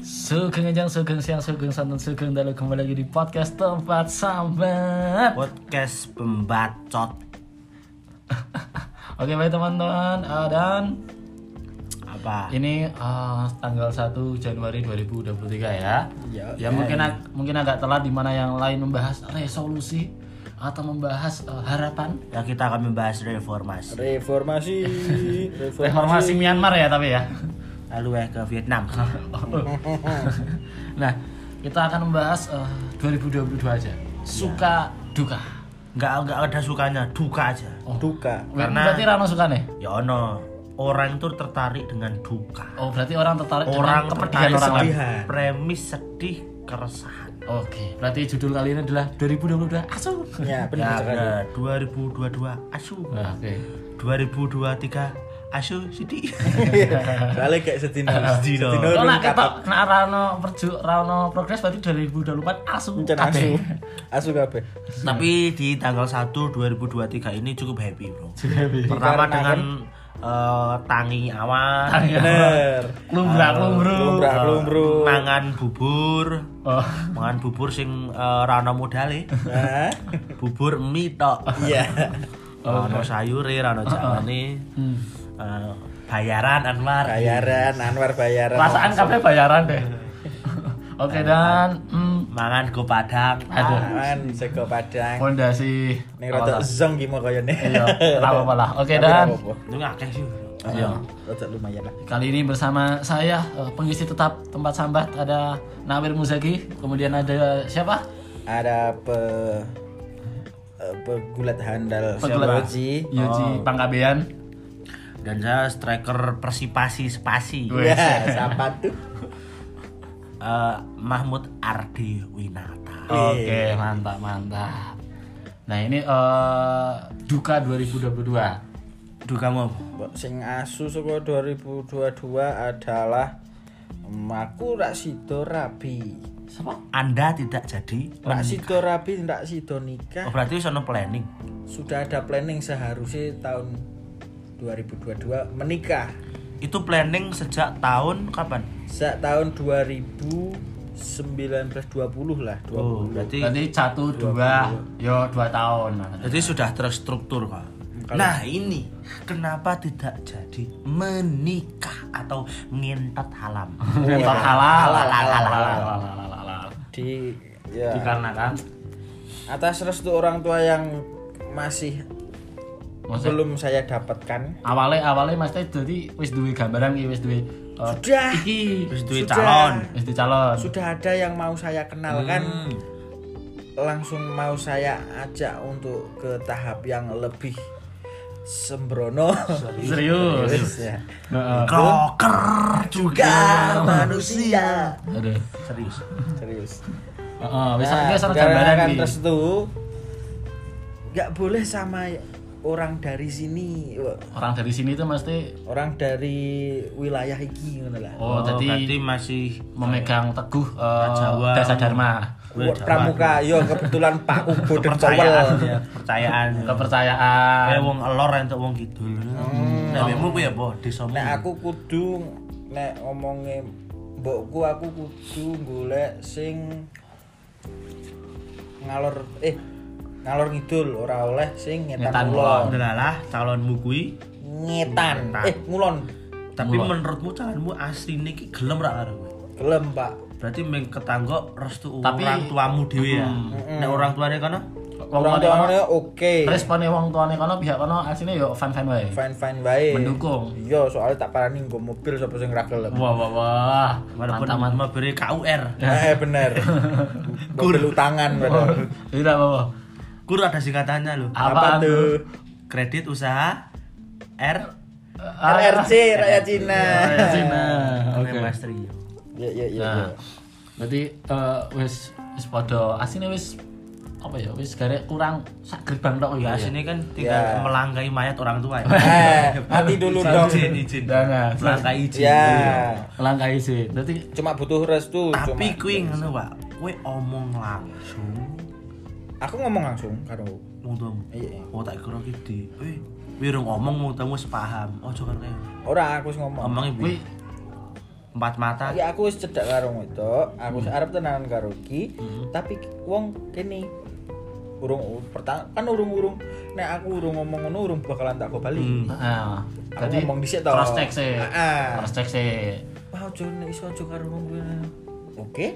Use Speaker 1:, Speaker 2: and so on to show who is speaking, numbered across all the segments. Speaker 1: Sugeng Enjang, Sugeng Siang, Sugeng Santan, Sugeng Dalu Kembali lagi di podcast tempat sambat
Speaker 2: podcast pembacot
Speaker 1: Oke baik teman-teman Eh, Dan
Speaker 2: apa
Speaker 1: ini eh, tanggal 1 Januari 2023 ya
Speaker 2: Ya,
Speaker 1: Ya mungkin ag- mungkin agak telat dimana yang lain membahas resolusi Atau membahas eh, harapan
Speaker 2: ya kita akan membahas reformasi
Speaker 3: Reformasi.
Speaker 1: Reformasi Myanmar ya tapi ya Oh.
Speaker 2: lalu eh ke Vietnam
Speaker 1: Nah kita akan membahas eh, 2022 aja
Speaker 2: Iya.
Speaker 1: Suka duka
Speaker 2: nggak nggak ada sukanya duka aja
Speaker 3: Duka.
Speaker 2: Karena-
Speaker 1: Berarti Rano suka nih?
Speaker 2: ya ono orang itu tertarik dengan duka
Speaker 1: Oh berarti orang tertarik dengan
Speaker 2: orang
Speaker 1: kepedihan
Speaker 2: tertarik
Speaker 1: orang lain.
Speaker 2: sedih premis sedih keresahan
Speaker 1: Oke, berarti judul kali ini adalah 2022 asu.
Speaker 2: ya
Speaker 3: Ya, benar sekali.
Speaker 2: bener 2022 asu
Speaker 1: Nah, Oke.
Speaker 2: 2023 asu sedih
Speaker 3: Balik kayak Setino.
Speaker 1: Nah,
Speaker 2: Sedino.
Speaker 3: Setino
Speaker 1: Kalau
Speaker 3: dulu
Speaker 1: nak
Speaker 3: katak.
Speaker 1: ketok nak Rano perju Rano progres berarti 2024 asu.
Speaker 3: Encen
Speaker 1: Kabeh.
Speaker 3: asu. Asu kabeh.
Speaker 2: tapi di tanggal 1 2023 ini cukup happy bro pertama
Speaker 3: Dikarenakan-
Speaker 2: dengan eh, tangi awan
Speaker 3: Bener.
Speaker 1: Lumbrak
Speaker 3: Nah,
Speaker 1: lumbruk.
Speaker 3: Lumbrak lumbruk.
Speaker 2: Eh, mangan bubur
Speaker 1: Oh.
Speaker 2: mangan bubur sing eh, rano modale
Speaker 3: Hah?
Speaker 2: bubur mie tok
Speaker 3: Nah, Iya.
Speaker 2: rano sayure rano jawane Eh, bayaran Anwar
Speaker 3: Bayaran Anwar bayaran.
Speaker 1: Perasaan kabeh bayaran deh. Oke dan hmm,
Speaker 2: mangan go padang
Speaker 1: aduh
Speaker 3: Aman sego Padang.
Speaker 1: fondasi
Speaker 3: Ning rada zong ki mau koyone.
Speaker 1: Iya, apa lah. Oke
Speaker 3: Tapi
Speaker 1: dan
Speaker 3: nggak apa-apa.
Speaker 2: itu akeh sih bro.
Speaker 3: Iya. Rada lumayan lah.
Speaker 1: Kali ini bersama saya eh, pengisi tetap tempat sambat ada Nawir Muzaki, kemudian ada siapa?
Speaker 3: Ada pe eh, pegulat handal
Speaker 1: Pegulat. Iya.
Speaker 3: Siapa?
Speaker 1: Yoji Oh. Pangkabean.
Speaker 2: dan saya striker persipasi sepasi
Speaker 3: Ya, siapa tuh?
Speaker 2: Eh, Mahmud Ardi Winata Iya.
Speaker 1: Oke, mantap, mantap. Nah, ini eh, duka 2022.
Speaker 2: duh kamu apa?
Speaker 3: Mbok sing asu saka 2022 adalah em, aku rak sido rabi.
Speaker 1: Siapa?
Speaker 2: Anda tidak jadi
Speaker 3: Rak sido rabi, rak sido nikah.
Speaker 2: Oh, berarti sono planning.
Speaker 3: Sudah ada planning seharusnya tahun 2022 menikah.
Speaker 2: Itu planning sejak tahun kapan?
Speaker 3: Sejak tahun 2019 20 lah, 20.
Speaker 2: Oh, berarti
Speaker 1: Berarti 1 2 yo 2 tahun.
Speaker 2: berarti sudah terstruktur kok. Nah, ini kenapa tidak jadi menikah atau ngentot halam?
Speaker 3: Iya.
Speaker 1: Tetap halal.
Speaker 3: Halal, halal,
Speaker 1: Halal, halal, halal.
Speaker 3: Di ya
Speaker 1: Dikarenakan
Speaker 3: atas restu orang tua yang masih
Speaker 1: Maksudnya-
Speaker 3: belum saya dapatkan.
Speaker 1: awalnya awalnya Mas Teh jadi wis duwe gambaran iki wis duwe eh,
Speaker 3: Sudah.
Speaker 1: iki
Speaker 2: Terus duit
Speaker 3: Sudah.
Speaker 2: calon.
Speaker 1: wis duwe calon.
Speaker 3: sudah ada yang mau saya kenalkan
Speaker 1: Hmm.
Speaker 3: langsung mau saya ajak untuk ke tahap yang lebih sembrono
Speaker 1: Serius.
Speaker 3: Serius, ya.
Speaker 1: Heeh.
Speaker 2: Broker juga
Speaker 3: gak manusia
Speaker 1: Aduh.
Speaker 2: serius.
Speaker 3: serius
Speaker 1: Oh, Heeh, wis
Speaker 3: nah,
Speaker 1: saiki ana gambaran
Speaker 3: gambaran
Speaker 1: iki.
Speaker 3: restu nggak boleh sama orang dari sini
Speaker 1: Orang dari sini itu mesti
Speaker 3: orang dari wilayah iki ngono lah
Speaker 1: oh, jadi
Speaker 2: berarti masih
Speaker 1: memegang teguh eh,
Speaker 2: Jawa.
Speaker 1: dasa dharma
Speaker 3: Wah, pramuka yo kebetulan Pak Ugo dan
Speaker 2: kepercayaan, ya,
Speaker 3: Cowel
Speaker 2: kepercayaan. Kayak
Speaker 1: kepercayaan
Speaker 2: wong elor entuk wong kidul. Nah, mbekmu ku ya boh desamu.
Speaker 1: Hmm.
Speaker 3: Nek Hmm. Nah, aku kudu nek omonge mbokku aku kudu golek sing ngalor eh ngalor ngidul ora oleh sing ngetan,
Speaker 1: Ngetan
Speaker 3: ngulon.
Speaker 2: Adalah calonmu kuwi
Speaker 3: Ngetan. Eh ngulon.
Speaker 2: tapi menurutmu calonmu asli niki gelem ra karo kowe?
Speaker 3: Gelem, Pak.
Speaker 2: berarti meng ketanggo restu
Speaker 1: Tapi-
Speaker 2: orang tuamu dhewe ya
Speaker 3: Hmm.
Speaker 2: nek orang tuane kono
Speaker 1: wong ya,
Speaker 3: Orang eh.
Speaker 1: tuane kono
Speaker 3: tuane oke.
Speaker 1: respone wong tuane kono pihak kono asine yo fan-fan wae
Speaker 3: Fine-fine wae.
Speaker 1: mendukung
Speaker 3: Iya, soalnya tak parani nggo mobil sapa sing ra gelem.
Speaker 1: wah wah wah
Speaker 2: walaupun
Speaker 1: mantap mantap
Speaker 2: memberi KUR
Speaker 1: Ya.
Speaker 3: Nah, eh bener. Mobil
Speaker 1: Oh.
Speaker 3: utangan padahal.
Speaker 1: tidak apa
Speaker 2: kur ada singkatannya loh
Speaker 1: apa
Speaker 3: Apa tuh?
Speaker 2: kredit usaha R
Speaker 3: RRC rakyat Cina.
Speaker 1: Ah. Iya, Rakyat Cina
Speaker 2: oke
Speaker 1: ah,
Speaker 3: Kan
Speaker 1: oke
Speaker 2: Mas Trio
Speaker 3: Ya ya ya.
Speaker 1: nah
Speaker 3: ya.
Speaker 1: berarti eh, wis wis padha asine wis apa ya wis garek kurang sak gerbang tok ya
Speaker 3: Iya.
Speaker 2: Nah,
Speaker 1: asine
Speaker 2: sini kan tidak melangkai mayat orang tua ya.
Speaker 3: Ya. Eh, nanti dulu dong.
Speaker 2: izin, izin.
Speaker 1: Jangan.
Speaker 2: Melangkai izin.
Speaker 3: Ya.
Speaker 1: langkah isi berarti
Speaker 3: cuma butuh restu
Speaker 2: Tapi
Speaker 3: cuma-
Speaker 2: kuwi ngono, Pak. Kowe omong langsung
Speaker 3: aku ngomong langsung karo
Speaker 2: wong tuamu.
Speaker 3: Iya.
Speaker 2: Oh tak kira ki di. Eh, wirung ngomong wong tuamu sepaham. Ojo kan kaya.
Speaker 3: ora aku wis ngomong
Speaker 2: Omongi piye?
Speaker 1: kuwi
Speaker 2: empat mata
Speaker 3: Ya aku wis cedak karo itu, aku wis arep tenanan karo iki, tapi wong kene urung pertama kan urung-urung nek aku urung ngomong ngono urung bakalan tak balik.
Speaker 2: Hmm.
Speaker 1: Nah,
Speaker 3: Aku
Speaker 1: jadi
Speaker 3: ngomong dhisik Ah, to.
Speaker 1: cross check sih.
Speaker 3: Heeh.
Speaker 1: Cross check sih.
Speaker 3: Wah, ojo nek iso Ah, aja karo wong kuwi. Oke.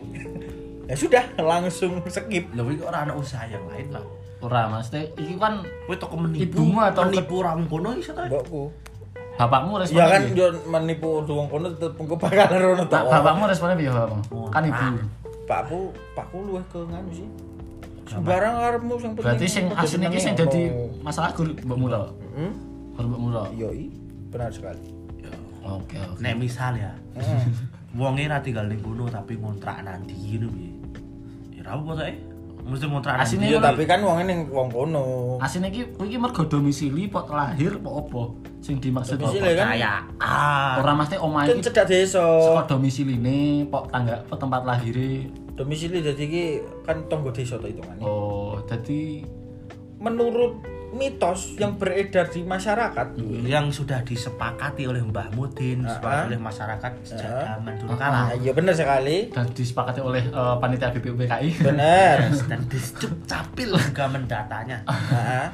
Speaker 3: ya sudah, langsung skip.
Speaker 2: lho iki ora ana usaha yang lain lah
Speaker 1: Ora, maksudnya iki kan
Speaker 2: kowe toko menipu
Speaker 1: Ibumu atau-
Speaker 2: menipu orang kono iso ta
Speaker 3: Mbokku.
Speaker 1: bapakmu responnya.
Speaker 3: Ya kan
Speaker 1: piye?
Speaker 3: yo menipu wong kono tetep engko bakalan rono
Speaker 1: Ba-
Speaker 3: tok.
Speaker 1: bapakmu responnya piye bapakmu? Kan ibu.
Speaker 2: Ah.
Speaker 3: Nah. Pakku, pakku luwih ke nganu sih. Sembarang arepmu sing penting.
Speaker 1: Berarti sing asline iki sing dadi masalah guru mbokmu lho.
Speaker 3: Heeh.
Speaker 1: Guru mbokmu lho.
Speaker 3: Hmm? Yoi, benar sekali.
Speaker 1: Oke, oke.
Speaker 2: nek misal ya
Speaker 3: Heeh.
Speaker 1: Hmm.
Speaker 2: wonge ra tinggal ning kono tapi ngontrak nang ndi ngono piye ya ra apa ta eh mesti ngontrak nang
Speaker 1: Asine
Speaker 2: ndi
Speaker 3: Iya,
Speaker 1: ngono.
Speaker 3: tapi kan wong ning wong kono.
Speaker 1: Asine iki iki mergo domisili pot lahir apa apa sing dimaksud
Speaker 3: Domisili
Speaker 1: apa?
Speaker 3: kan?
Speaker 2: kaya ah
Speaker 1: Ora mesti omah
Speaker 3: Kan
Speaker 1: Oh, iki
Speaker 3: cedak desa.
Speaker 1: saka domisiline, pok tangga, pok tempat lahire.
Speaker 3: Domisili dadi iki kan tonggo desa to hitungane.
Speaker 1: Oh, dadi
Speaker 3: Menurut mitos yang beredar di masyarakat,
Speaker 1: Hmm.
Speaker 2: yang sudah disepakati oleh Mbah Mudin, disepakati oleh masyarakat sejak
Speaker 3: Ah.
Speaker 2: zaman dulu kala.
Speaker 3: Ah, iya bener sekali.
Speaker 1: dan disepakati oleh eh, panitia BPUPKI.
Speaker 3: Bener.
Speaker 2: dan discup capil juga mendatanya
Speaker 3: Heeh.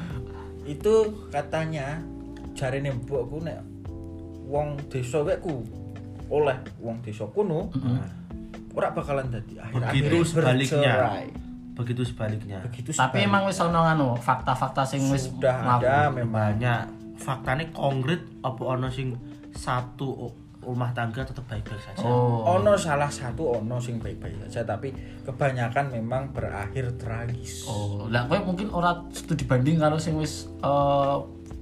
Speaker 3: itu katanya jarine mbokku nek wong desa wekku oleh wong desa kuno ora bakalan dadi akhir-akhir
Speaker 2: Begitu sebaliknya.
Speaker 3: bercerai.
Speaker 2: begitu sebaliknya
Speaker 3: Begitu
Speaker 1: Tapi
Speaker 3: sebaliknya.
Speaker 1: emang wis ana anu fakta-fakta sing wis
Speaker 3: sudah
Speaker 1: mlaku.
Speaker 3: ada memang
Speaker 2: banyak faktanya konkret apa ono sing satu o- rumah tangga tetap baik-baik saja
Speaker 1: Oh.
Speaker 3: ono salah satu ono sing baik-baik saja tapi kebanyakan memang berakhir tragis.
Speaker 1: Oh, lah kowe mungkin ora studi banding kalau sing wis eh,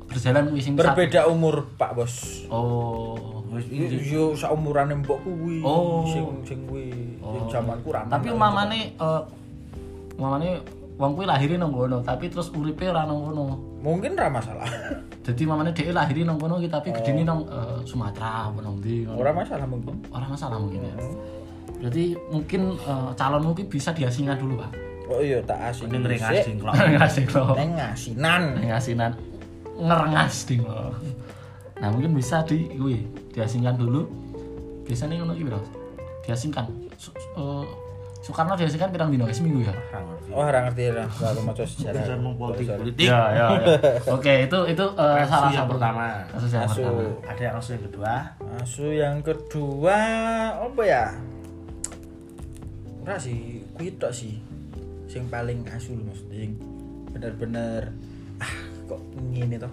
Speaker 1: berjalan kuwi sing sat-
Speaker 3: Berbeda umur Pak Bos.
Speaker 1: Oh.
Speaker 2: Wis ini-
Speaker 3: Yo saumurane mbokku kuwi
Speaker 1: Oh.
Speaker 3: sing sing kuwi sing jamanku ra
Speaker 1: Tapi umamane eh umamane wong kuwi lahire nang kono, tapi terus uripe ora nang kono.
Speaker 3: mungkin ra masalah.
Speaker 1: Jadi mamane dhek lahire nang kono iki tapi gedene nang eh, Sumatera apa nang ndi. ngono.
Speaker 3: Ora masalah mungkin.
Speaker 1: Ora masalah mungkin ya. Berarti mungkin eh, calon mungkin bisa diasingkan dulu, Pak.
Speaker 3: Oh iya tak asing.
Speaker 2: ini ngering
Speaker 3: dhisik.
Speaker 2: asing kalau
Speaker 1: Ngasih loh.
Speaker 3: Neng asinan.
Speaker 1: ngasinan ngerengas ding loh. Nah mungkin bisa di kuwi diasingkan dulu. Biasanya ngono iki bro. Diasingkan. Su, su- eh, Soekarno diasingkan pirang dino seminggu ya.
Speaker 3: Oh, ora ngerti lah, baru maca sejarah.
Speaker 2: urusan mau politik
Speaker 3: Iya.
Speaker 2: politik
Speaker 1: Ya ya ya. Oke itu itu eh,
Speaker 2: Kasus
Speaker 1: salah
Speaker 2: iya, yang
Speaker 1: satu
Speaker 2: pertama.
Speaker 1: Kasus yang
Speaker 3: Asu.
Speaker 1: pertama.
Speaker 2: ada yang langsung yang kedua
Speaker 3: Asu yang kedua apa ya? Ora sih, kuwi tok sih. Sing paling asu lho maksudnya sing bener-bener ah kok ngene toh.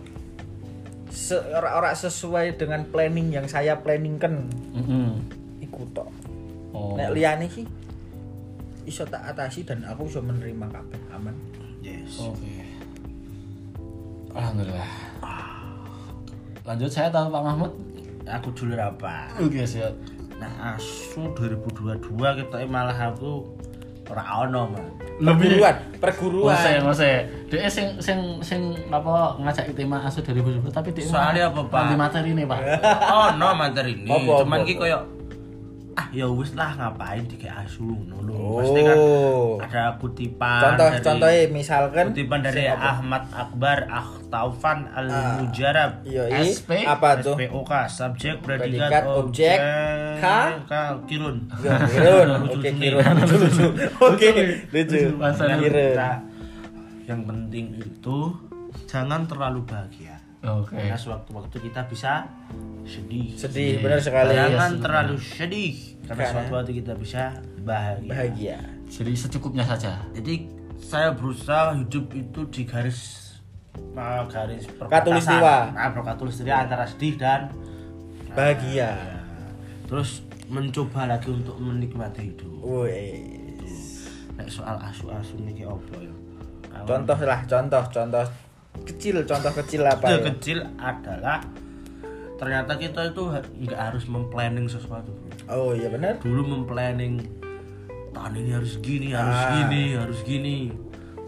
Speaker 3: Se ora ora sesuai dengan planning yang saya planningkan
Speaker 1: Mm-mm.
Speaker 3: iku tok.
Speaker 1: Oh.
Speaker 2: Nah.
Speaker 3: Nek liyane sih iso tak atasi dan aku iso menerima kabeh aman.
Speaker 2: yes
Speaker 1: Oh, Oke. Alhamdulillah. Lanjut saya tahu Pak Mahmud.
Speaker 2: aku dulu apa
Speaker 1: Oke siap.
Speaker 2: nah asu 2022 kita malah aku ora ono mah
Speaker 3: Perguruan, perguruan.
Speaker 1: Ngose, ngose. Dia sing sing sing apa ngajak tema asu dari Bojoboro tapi dia
Speaker 2: Soalnya apa, Pak? Iya.
Speaker 1: Nanti materi nih Pak.
Speaker 2: ono materi ini
Speaker 3: Apa, apa,
Speaker 2: cuman ki
Speaker 3: apa?
Speaker 2: koyo ah ya wis lah ngapain dikek asu ngono lho
Speaker 3: Oh.
Speaker 2: pasti kan ada kutipan
Speaker 3: Contoh
Speaker 2: dari-
Speaker 3: contohnya kan? misalkan
Speaker 2: kutipan dari
Speaker 3: sing apa?
Speaker 2: Ahmad Akbar Akhtaufan Al Mujarab
Speaker 3: Iya,
Speaker 1: SP,
Speaker 3: i apa tuh?
Speaker 2: SPOK subjek predikat,
Speaker 3: Predikat, objek, K.
Speaker 2: K kirun
Speaker 3: Ya, Kirun.
Speaker 2: Lucu-lucu
Speaker 3: Oke,
Speaker 2: nih.
Speaker 3: Kirun. Lucu-lucu. Oke, lucu. Nah,
Speaker 1: Lucu,
Speaker 2: Dan
Speaker 3: Kirun.
Speaker 2: kita- yang penting itu jangan terlalu bahagia
Speaker 1: Oke.
Speaker 2: karena sewaktu-waktu kita bisa sedih
Speaker 3: Sedih, benar sekali. Iya,
Speaker 2: Jangan terlalu sedih karena
Speaker 3: Karena-
Speaker 2: suatu waktu kita bisa bahagia.
Speaker 3: Bahagia.
Speaker 1: Jadi secukupnya saja.
Speaker 2: Jadi saya berusaha hidup itu di garis uh, garis perbatasan.
Speaker 3: Katulistiwa.
Speaker 2: Nah, per- katulistiwa antara sedih dan
Speaker 3: Bahagia.
Speaker 2: terus mencoba lagi untuk menikmati hidup.
Speaker 3: Woi.
Speaker 2: Nek soal asu-asu niki opo ya? Aku-
Speaker 3: Contoh lah, contoh, contoh kecil, contoh kecil apa
Speaker 2: Ide
Speaker 3: ya?
Speaker 2: kecil adalah ternyata kita itu ha- nggak harus memplanning sesuatu. Bro.
Speaker 3: Oh iya benar.
Speaker 2: dulu memplanning tahun ini harus gini, harus
Speaker 3: Ah.
Speaker 2: gini, harus gini.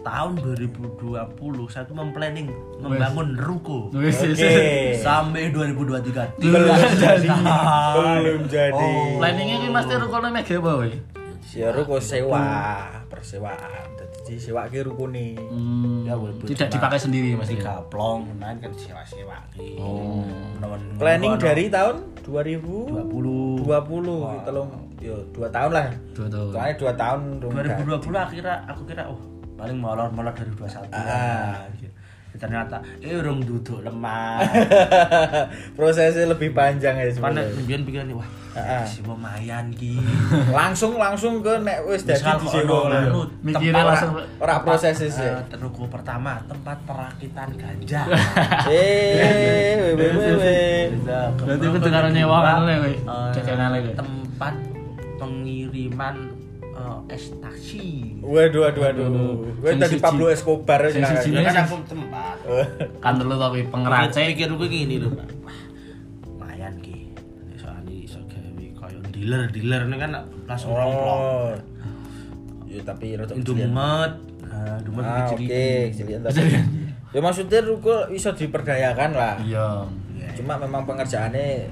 Speaker 2: Tahun 2020 saya tuh memplanning membangun ruko.
Speaker 1: Wis, wis,
Speaker 3: Oke.
Speaker 1: wis.
Speaker 2: Sampai 2023.
Speaker 3: Belum jadi.
Speaker 2: Ah.
Speaker 3: Belum jadi.
Speaker 2: Oh.
Speaker 1: Planningnya ini pasti rukono mega apa woi?
Speaker 3: Ya ruko sewa, persewaan. Jadi sewa ki rukune.
Speaker 1: Hmm,
Speaker 2: Ya, walaupun
Speaker 1: tidak
Speaker 2: cuma
Speaker 1: dipakai sendiri Mas Dika.
Speaker 2: Tiga plong, kan kan sewa-sewa.
Speaker 1: Oh.
Speaker 2: Menawan-
Speaker 3: Planning
Speaker 2: menawan-
Speaker 3: dari tahun 2000
Speaker 2: 20
Speaker 3: 2020 kita telung gitu yo 2 tahun lah.
Speaker 1: Dua tahun.
Speaker 3: Soalnya 2 tahun rung gak-
Speaker 2: 2020 akhirnya aku kira oh paling molor-molor dari 21
Speaker 3: Ah.
Speaker 2: gitu. ternyata eh urung duduk lemah
Speaker 3: prosesnya lebih panjang ya
Speaker 2: panas
Speaker 3: sebenarnya.
Speaker 2: kemudian pikirannya wah
Speaker 3: Ah.
Speaker 2: si lumayan ki
Speaker 3: Langsung langsung ke nek wis dadi
Speaker 2: Misal kok ono
Speaker 3: disewa.
Speaker 2: anu,
Speaker 1: Mikirnya
Speaker 2: tempat-
Speaker 1: langsung,
Speaker 3: Ora
Speaker 2: tempat,
Speaker 3: prosesnya sih.
Speaker 2: eh, Teruku pertama tempat perakitan ganja
Speaker 3: Eh, we we we, we.
Speaker 1: Berarti itu karo nyewa kan le kowe.
Speaker 2: Eh,
Speaker 1: Jajanan le kowe.
Speaker 2: tempat pengiriman eh, es taksi
Speaker 3: Waduh, waduh, waduh. Gue
Speaker 1: Sing
Speaker 3: tadi
Speaker 1: siji-
Speaker 3: Pablo Escobar
Speaker 1: sing
Speaker 3: sekarang.
Speaker 1: siji-
Speaker 2: Ya kan aku tempat
Speaker 1: Kan telu tapi
Speaker 2: Pikir-
Speaker 1: pengeracik.
Speaker 2: pikir gue gini loh Pak. Wah, lumayan ki Nek soalnya iso gawe kaya dealer dealer ini kan langsung romplong
Speaker 3: Oh. Ya tapi rada kecil.
Speaker 2: Indomet Ah, Indomet
Speaker 3: Ah,
Speaker 2: kecil
Speaker 3: oke, kecilian tapi.
Speaker 1: Kecilian.
Speaker 3: Ya maksudnya Ruko bisa diperdayakan lah.
Speaker 1: Iya.
Speaker 2: Iya.
Speaker 3: Cuma memang pengerjaannya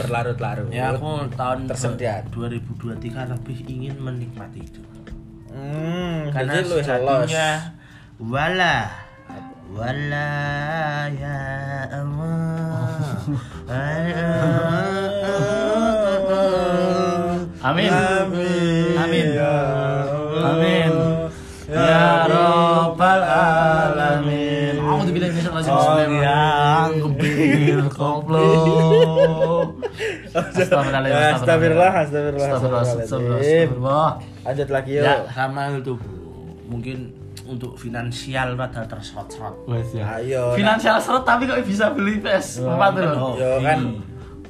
Speaker 3: berlarut-larut.
Speaker 2: ya aku tahun
Speaker 3: Tersendat.
Speaker 2: 2023 lebih ingin menikmati itu
Speaker 3: Hmm,
Speaker 2: karena
Speaker 3: jadi lu wis lolos.
Speaker 2: sejatinya wala wala ya Allah
Speaker 1: Amin. Amin.
Speaker 3: Ya Allah.
Speaker 1: Amin. Ya Rabbal Alamin. Aku dibilang ini sama
Speaker 2: yang
Speaker 1: Kepikir koplo. Astagfirullahaladzim.
Speaker 3: Astagfirullah, astagfirullah,
Speaker 1: Astagfirullah. Astagfirullah.
Speaker 3: astagfirullah.
Speaker 1: Astagfirullah.
Speaker 3: Lanjut lagi yuk.
Speaker 2: ya sama itu Bu. mungkin untuk finansial rada terserot-serot
Speaker 1: Wes ya.
Speaker 3: Ayo.
Speaker 1: Finansial seret tapi kok bisa beli PS4
Speaker 2: Oh.
Speaker 1: loh.
Speaker 3: Yo kan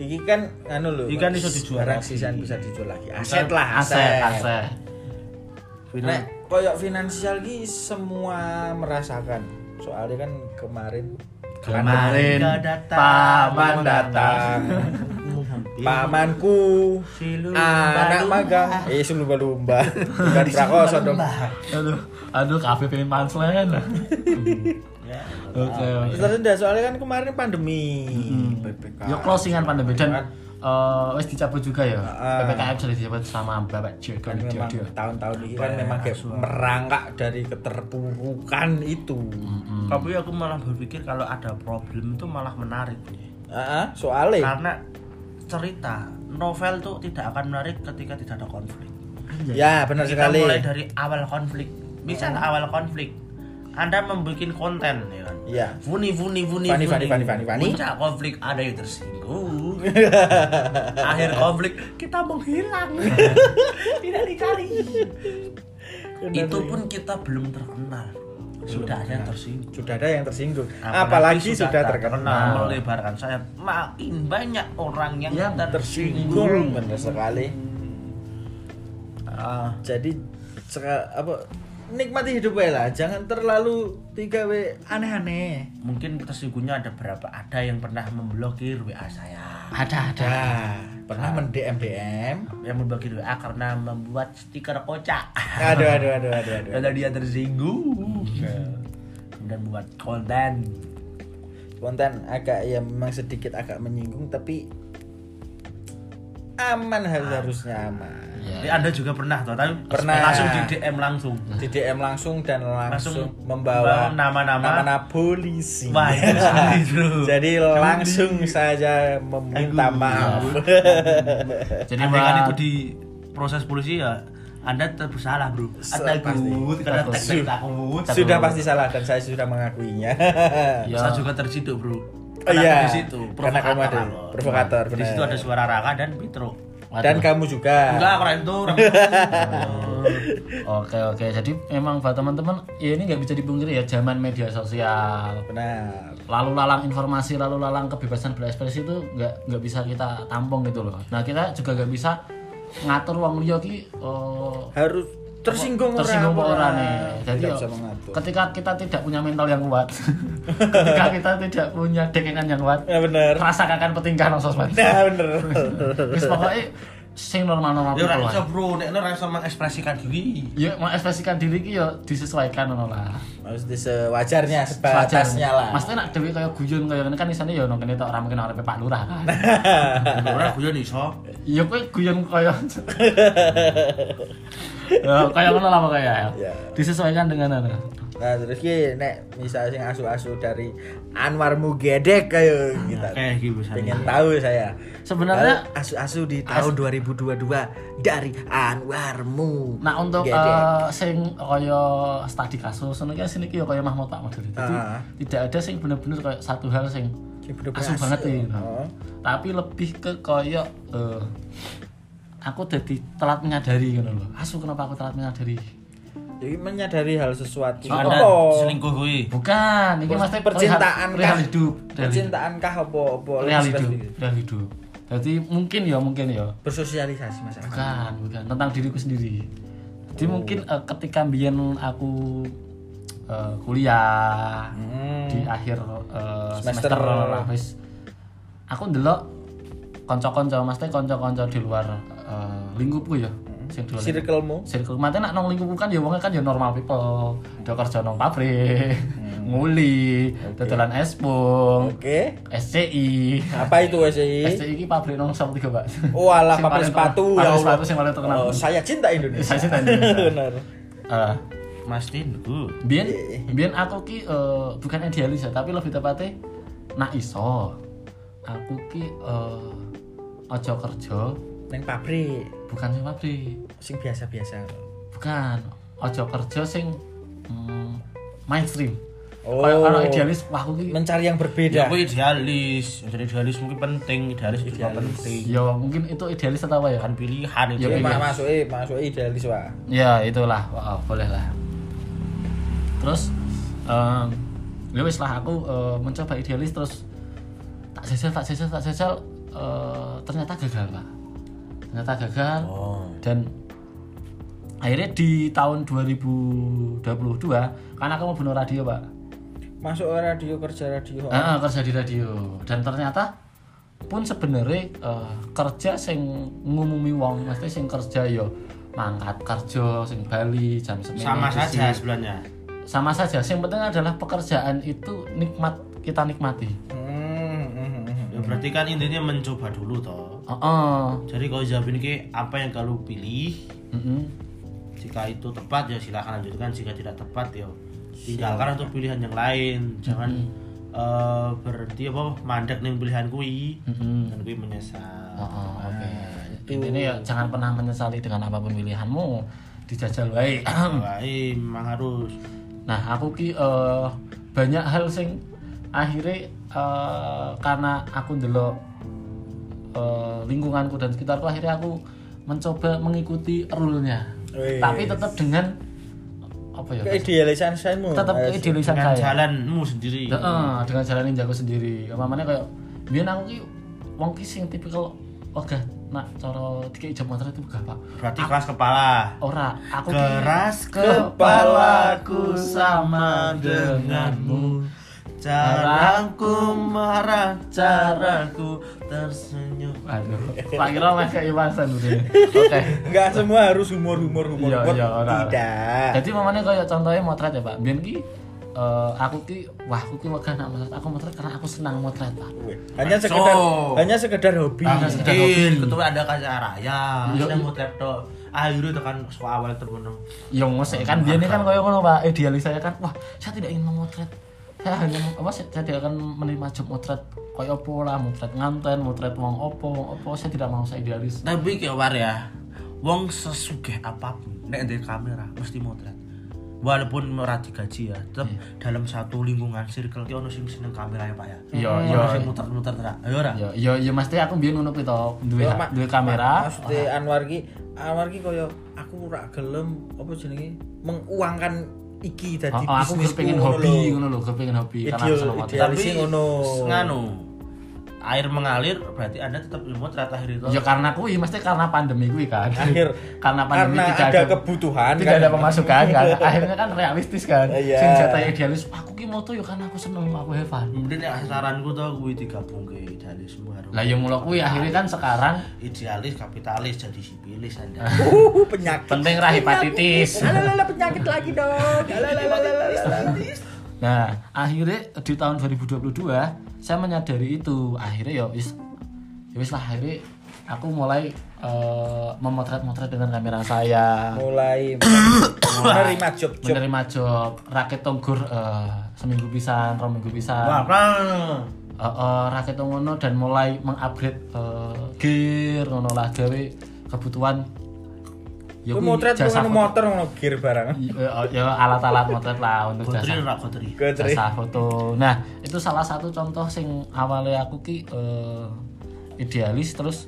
Speaker 3: iki kan anu lho.
Speaker 2: Iki kan iso dijual
Speaker 3: barang
Speaker 2: lagi.
Speaker 3: sisaan bisa dijual lagi. Aset
Speaker 1: Aset,
Speaker 3: lah, aset.
Speaker 1: aset.
Speaker 2: Finan-
Speaker 3: Nek koyok finansial iki semua merasakan. Soalnya kan kemarin
Speaker 1: Kemarin
Speaker 2: Kemarin datang.
Speaker 1: paman datang.
Speaker 3: datang pamanku
Speaker 2: Si lumba-lumba.
Speaker 3: anak magang eh si lumba-lumba bukan prakoso dong
Speaker 1: Aduh, aduh kafe pengen punchline.
Speaker 2: Ya.
Speaker 1: Oke. oke.
Speaker 3: tersendat soalnya kan kemarin pandemi
Speaker 1: Hmm.
Speaker 3: PPK.
Speaker 1: Ya closingan pandemi dan
Speaker 3: Kan
Speaker 1: eh, wes dicabut juga ya.
Speaker 3: Ah.
Speaker 1: PPKM sudah dicabut sama Bapak Joko
Speaker 3: kan memang
Speaker 1: Widodo.
Speaker 3: tahun-tahun ini kan memang kayak merangkak dari keterpurukan itu
Speaker 2: tapi aku malah berpikir kalau ada problem itu malah menarik Bu.
Speaker 3: Ah, ah, soalnya
Speaker 2: karena cerita novel tuh tidak akan menarik ketika tidak ada konflik
Speaker 3: ya benar
Speaker 2: kita
Speaker 3: sekali
Speaker 2: mulai dari awal konflik misal awal konflik anda membuat konten ya kan
Speaker 3: Iya.
Speaker 2: Funi funi funi
Speaker 3: Fani,
Speaker 2: funi.
Speaker 3: fani, fani, fani, fani.
Speaker 2: Puncak konflik ada yang tersinggung. Akhir konflik kita menghilang. Tidak dicari. Itu pun kita belum terkenal. Sudah ada yang tersinggung.
Speaker 3: sudah ada yang tersinggung apalagi, sudah terkenal
Speaker 2: melebarkan sayap makin banyak orang yang,
Speaker 1: Yang
Speaker 3: tersinggung benar sekali
Speaker 2: Ah,
Speaker 3: jadi seka- apa nikmati hidup wae lah jangan terlalu tiga w aneh-aneh
Speaker 2: mungkin tersinggungnya ada berapa ada yang pernah memblokir WA saya
Speaker 1: Ada, ada.
Speaker 3: nah pernah mendm dm
Speaker 2: yang memblokir WA karena membuat stiker kocak
Speaker 3: aduh aduh aduh aduh, aduh.
Speaker 2: karena dia tersinggung
Speaker 3: Ya.
Speaker 2: dan buat konten
Speaker 3: konten agak ya memang sedikit agak menyinggung tapi aman harus harusnya aman
Speaker 2: Ini anda juga pernah toh tapi
Speaker 3: Ya. Pernah.
Speaker 2: langsung di DM langsung
Speaker 3: di DM langsung dan langsung,
Speaker 2: Langsung
Speaker 3: membawa
Speaker 2: membawa nama-nama.
Speaker 3: polisi
Speaker 2: wah iya, itu sekali, bro.
Speaker 3: jadi langsung saja
Speaker 2: Aduh.
Speaker 3: meminta Eh, maaf
Speaker 1: Jadi
Speaker 2: Andai Gitu. kan
Speaker 1: Pak,
Speaker 2: itu di proses polisi ya anda tersalah bro
Speaker 3: Se-
Speaker 2: takut
Speaker 3: pasti. Iya.
Speaker 2: karena
Speaker 1: Takut.
Speaker 2: tek takut
Speaker 3: sudah pasti salah dan saya sudah mengakuinya
Speaker 1: Ya.
Speaker 2: saya juga terciduk bro
Speaker 3: Oh, iya
Speaker 2: di situ
Speaker 3: karena kamu ada
Speaker 2: aku.
Speaker 3: provokator
Speaker 2: di situ ada
Speaker 3: benar.
Speaker 2: suara Raka dan Pitro
Speaker 3: dan kan- kamu juga
Speaker 2: enggak orang itu orang
Speaker 1: Oke oke, jadi memang buat teman-teman ya ini nggak bisa dipungkiri ya zaman media sosial,
Speaker 3: benar
Speaker 1: lalu lalang informasi, lalu lalang kebebasan berekspresi itu nggak nggak bisa kita tampung gitu loh. Nah kita juga nggak bisa ngatur wong liya ki eh,
Speaker 3: harus tersinggung
Speaker 1: tersinggung
Speaker 3: orang-
Speaker 1: orang nih.
Speaker 3: orang.
Speaker 1: Jadi
Speaker 3: Tidak
Speaker 1: ya,
Speaker 3: bisa mengatur
Speaker 1: ketika kita tidak punya mental yang kuat, ketika kita tidak punya dekengan yang kuat,
Speaker 3: ya benar
Speaker 1: rasa akan petingkah nang sosmed.
Speaker 3: nah benar
Speaker 1: Wis pokoke sing normal-normal
Speaker 2: ya
Speaker 1: people
Speaker 2: orang bisa
Speaker 1: lah.
Speaker 2: bro nek orang bisa mengekspresikan diri
Speaker 1: Ya mau ekspresikan diri ki ya disesuaikan ngono lah.
Speaker 3: harus di sewajarnya
Speaker 1: Sewajar.
Speaker 3: sebatasnya lah
Speaker 1: Maksudnya nak dhewe kaya guyon kaya ngene kan isane ya ono kene tok ora mungkin arep Pak Lurah kan.
Speaker 2: orang guyon iso
Speaker 1: Ya kowe guyon kaya Ya kaya ngono lah pokoknya ya.
Speaker 3: Ya.
Speaker 1: Disesuaikan dengan anu.
Speaker 3: Nah, terus ki nek misal sing asu-asu dari Anwar Mugedek kayak gitu.
Speaker 2: kayak gitu, Sani.
Speaker 3: Pengen tahu saya.
Speaker 1: Sebenarnya-
Speaker 3: Kalau asu-asu di tahun 2022 dari Anwar Mugedek.
Speaker 1: Nah untuk
Speaker 3: Gedek.
Speaker 1: eh, sing kaya studi kasus ngono ki sini ki ya kaya Mahmud Pak Model. Jadi
Speaker 3: Ah.
Speaker 1: tidak ada sing bener-bener kaya satu hal sing
Speaker 3: Sing bener-bener
Speaker 1: asu
Speaker 3: asu.
Speaker 1: banget iki.
Speaker 3: Oh.
Speaker 1: Tapi lebih ke kaya eh, aku jadi telat menyadari ngono lho. Asu kenapa aku telat menyadari?
Speaker 3: Jadi menyadari hal sesuatu.
Speaker 2: Ada
Speaker 3: Apa?
Speaker 2: selingkuh gue.
Speaker 1: Bukan, ini mesti
Speaker 3: percintaan
Speaker 1: real
Speaker 3: kah?
Speaker 1: hidup, real hidup,
Speaker 3: Percintaan Oh, kah apa apa?
Speaker 1: real hidup, real hidup. Jadi mungkin ya, mungkin ya.
Speaker 3: Bersosialisasi Mas.
Speaker 1: Bukan, bukan tentang diriku sendiri. Jadi mungkin eh, ketika mbien aku eh, kuliah
Speaker 3: Hmm.
Speaker 1: di akhir eh,
Speaker 3: Semester.
Speaker 1: semester, lah, wis aku ndelok kanca-kanca mesti kanca-kanca di luar eh, lingkupku ya. Sing di luar lingkup.
Speaker 3: Circlemu.
Speaker 1: circle mate nak nang lingkup kan ya wong kan ya normal people. Do kerja nang pabrik, nguli, dodolan es pung,
Speaker 3: Oke.
Speaker 1: SCI.
Speaker 3: Apa itu SI?
Speaker 1: SCI iki pabrik nang sop tiga, Pak.
Speaker 3: Eh? Oh, alah
Speaker 1: Sing
Speaker 3: pabrik
Speaker 1: paling
Speaker 3: sepatu.
Speaker 1: terkenal. Pabrik
Speaker 3: ya Allah.
Speaker 1: sepatu sing paling terkenal.
Speaker 3: Oh, saya cinta Indonesia.
Speaker 1: Saya cinta Indonesia.
Speaker 3: Benar.
Speaker 1: Eh,
Speaker 2: Mas Tindu.
Speaker 1: Biyen
Speaker 3: Iya,
Speaker 1: biyen aku ki eh, bukan idealis ya, tapi lebih tepatnya nak iso aku ki eh, ojo kerja
Speaker 3: Neng pabrik
Speaker 1: bukan sing pabrik,
Speaker 3: sing biasa-biasa.
Speaker 1: bukan ojo kerja sing mm, mainstream.
Speaker 3: Oh.
Speaker 1: Kayak orang idealis wah aku ki
Speaker 3: Mencari yang
Speaker 2: Ya,
Speaker 3: berbeda.
Speaker 2: aku idealis. Jadi idealis mungkin penting, idealis juga penting.
Speaker 1: ya mungkin itu idealis atau apa ya?
Speaker 2: Kan pilihan itu.
Speaker 1: Ya,
Speaker 3: Ini
Speaker 1: iya.
Speaker 3: ma- masuk eh masuk eh idealis Pak.
Speaker 1: Ya itulah, wow, boleh lah. Terus, em, ya wis lah aku eh, mencoba idealis terus tak sesel, tak sesel, tak sesel, eh, ternyata gagal pak. Ternyata gagal
Speaker 2: Oh.
Speaker 1: dan akhirnya di tahun 2022 karena aku mau bunuh radio pak.
Speaker 3: Masuk radio kerja radio.
Speaker 1: Eh, eh, kerja di radio dan ternyata pun sebenarnya eh, kerja sing ngumumi wong mesti sing kerja yo mangkat kerja sing Bali jam semene
Speaker 2: Sama
Speaker 1: di sini.
Speaker 2: saja sebenarnya.
Speaker 1: sama saja yang penting adalah pekerjaan itu nikmat kita nikmati
Speaker 3: Hmm, hmm, hmm, hmm.
Speaker 2: Ya, berarti kan intinya mencoba dulu toh.
Speaker 1: oh, oh.
Speaker 2: Jadi kalau jawabin ke apa yang kamu pilih,
Speaker 1: Mm-mm.
Speaker 2: jika itu tepat ya silahkan lanjutkan, jika tidak tepat ya tinggalkan untuk pilihan yang lain. Jangan eh, berhenti apa mandek nih pilihan kui
Speaker 1: Mm-mm.
Speaker 2: dan kui menyesal.
Speaker 1: Oh, oh, oke
Speaker 2: Nah,
Speaker 1: intinya ya jangan pernah menyesali dengan apa pemilihanmu dijajal baik
Speaker 2: Baik, memang harus.
Speaker 1: nah aku ki eh, banyak hal sing akhirnya eh, karena aku ndelok eh, lingkunganku dan sekitarku akhirnya aku mencoba mengikuti rule-nya
Speaker 3: Wih.
Speaker 1: tapi tetap dengan apa ya
Speaker 3: Keidealisan saymu.
Speaker 1: tetap keidealisan
Speaker 2: Dengan
Speaker 1: saya
Speaker 2: jalanmu sendiri.
Speaker 1: Heeh, dengan jalanin jago sendiri. Apa mana kayak biyen aku ki wong ki sing tipikal ogah nak cara dikek jam motor itu gak, Pak.
Speaker 2: Berarti kelas kepala.
Speaker 1: Ora, aku ki-
Speaker 2: Keras
Speaker 1: kepalaku sama denganmu.
Speaker 2: Caraku marah, caraku tersenyum.
Speaker 1: Aduh, Pak Kira mah kayak Iwan Sandure. Oke.
Speaker 3: Enggak semua harus humor-humor humor.
Speaker 1: Iya,
Speaker 3: humor.
Speaker 1: iya, ora, ora.
Speaker 3: Tidak.
Speaker 1: Jadi mamane kayak contohnya motret ya, Pak. Biyen ki eh, aku ki wah aku ki wegah nak motret. Aku motret karena aku senang motret, Pak.
Speaker 3: Weh, Hanya sekedar
Speaker 2: So.
Speaker 3: hanya sekedar hobi.
Speaker 2: Iya,
Speaker 1: Ah,
Speaker 3: Nah,
Speaker 1: sudah
Speaker 2: Mungkin
Speaker 1: hobi.
Speaker 2: ketua ada kaca raya,
Speaker 1: Iya,
Speaker 2: ada
Speaker 1: iya.
Speaker 2: mau laptop. Akhirnya tekan suka awal temen
Speaker 1: Ya ngosek kan biyen kan kayak ngono Pak. Idealis saya kan wah, saya tidak ingin memotret. Saya hanya apa saya, saya tidak akan menerima job motret koyo apa lah, motret nganten, motret wong opo, wong opo saya tidak mau saya idealis.
Speaker 2: Tapi kayak war ya, wong sesugih apapun, nek ndek kamera mesti motret. Walaupun ora digaji ya, tetep dalam satu lingkungan circle ki ono sing seneng kamera ya Pak ya.
Speaker 1: Iya,
Speaker 2: Ono
Speaker 1: iya.
Speaker 2: sing muter-muter ra. Ayo ora.
Speaker 1: Ya ya ya mesti aku biyen ngono kuwi to, duwe
Speaker 3: Ya, Mak,
Speaker 1: duwe kamera.
Speaker 3: Maksudnya Anwar ki Anwar ki koyo aku ora gelem apa jenenge menguangkan
Speaker 1: Oh,
Speaker 3: iki dadi
Speaker 1: oh, aku
Speaker 3: bisnisku
Speaker 1: kepengin
Speaker 3: ngono
Speaker 1: hobi
Speaker 3: lho.
Speaker 1: ngono lho, kepengin hobi karena aku
Speaker 3: Ideal-
Speaker 1: seneng motret.
Speaker 3: ideal.
Speaker 2: Tapi
Speaker 3: Sing ono.
Speaker 2: nganu air mengalir berarti Anda tetap motret akhir itu.
Speaker 1: Ya
Speaker 3: Iya.
Speaker 1: karena kuwi mesti karena pandemi kuwi kan.
Speaker 3: Akhir
Speaker 1: karena pandemi
Speaker 3: karena
Speaker 1: tidak
Speaker 3: ada kebutuhan
Speaker 1: tidak
Speaker 3: kan.
Speaker 1: ada pemasukan kan. Akhirnya kan realistis kan.
Speaker 3: Iya.
Speaker 1: Sing jatah idealis aku ki moto yo karena aku seneng aku have fun.
Speaker 2: Mungkin nek saranku tuh kuwi digabung ke idealisme harus.
Speaker 3: iya.
Speaker 1: Lah ya mula kuwi akhirnya kan sekarang
Speaker 2: idealis kapitalis jadi sipilis Anda.
Speaker 3: Uh, penyakit.
Speaker 1: penting ra hepatitis.
Speaker 3: Alalala penyakit lagi dong. Alalala.
Speaker 1: Nah, akhirnya di tahun 2022 saya menyadari itu. Akhirnya ya wis ya wis lah akhirnya aku mulai eh, memotret-motret dengan kamera saya.
Speaker 3: Mulai menerima job job
Speaker 1: menerima job rakyat tonggur eh, seminggu pisan rong minggu pisan
Speaker 2: Wah, nah.
Speaker 1: Eh, eh, rakyat ngono dan mulai mengupgrade eh, gear ngono lah gawe kebutuhan ya
Speaker 3: Ku
Speaker 1: kuwi
Speaker 3: motret ku
Speaker 1: jasa
Speaker 3: ngono
Speaker 1: foto-
Speaker 3: motor ngono gear barang
Speaker 1: i- eh, ya alat-alat motret lah untuk
Speaker 2: Gotri
Speaker 1: jasa
Speaker 2: ora gotri.
Speaker 3: Gotri.
Speaker 1: jasa foto. Nah, itu salah satu contoh sing awalnya aku ki eh, idealis terus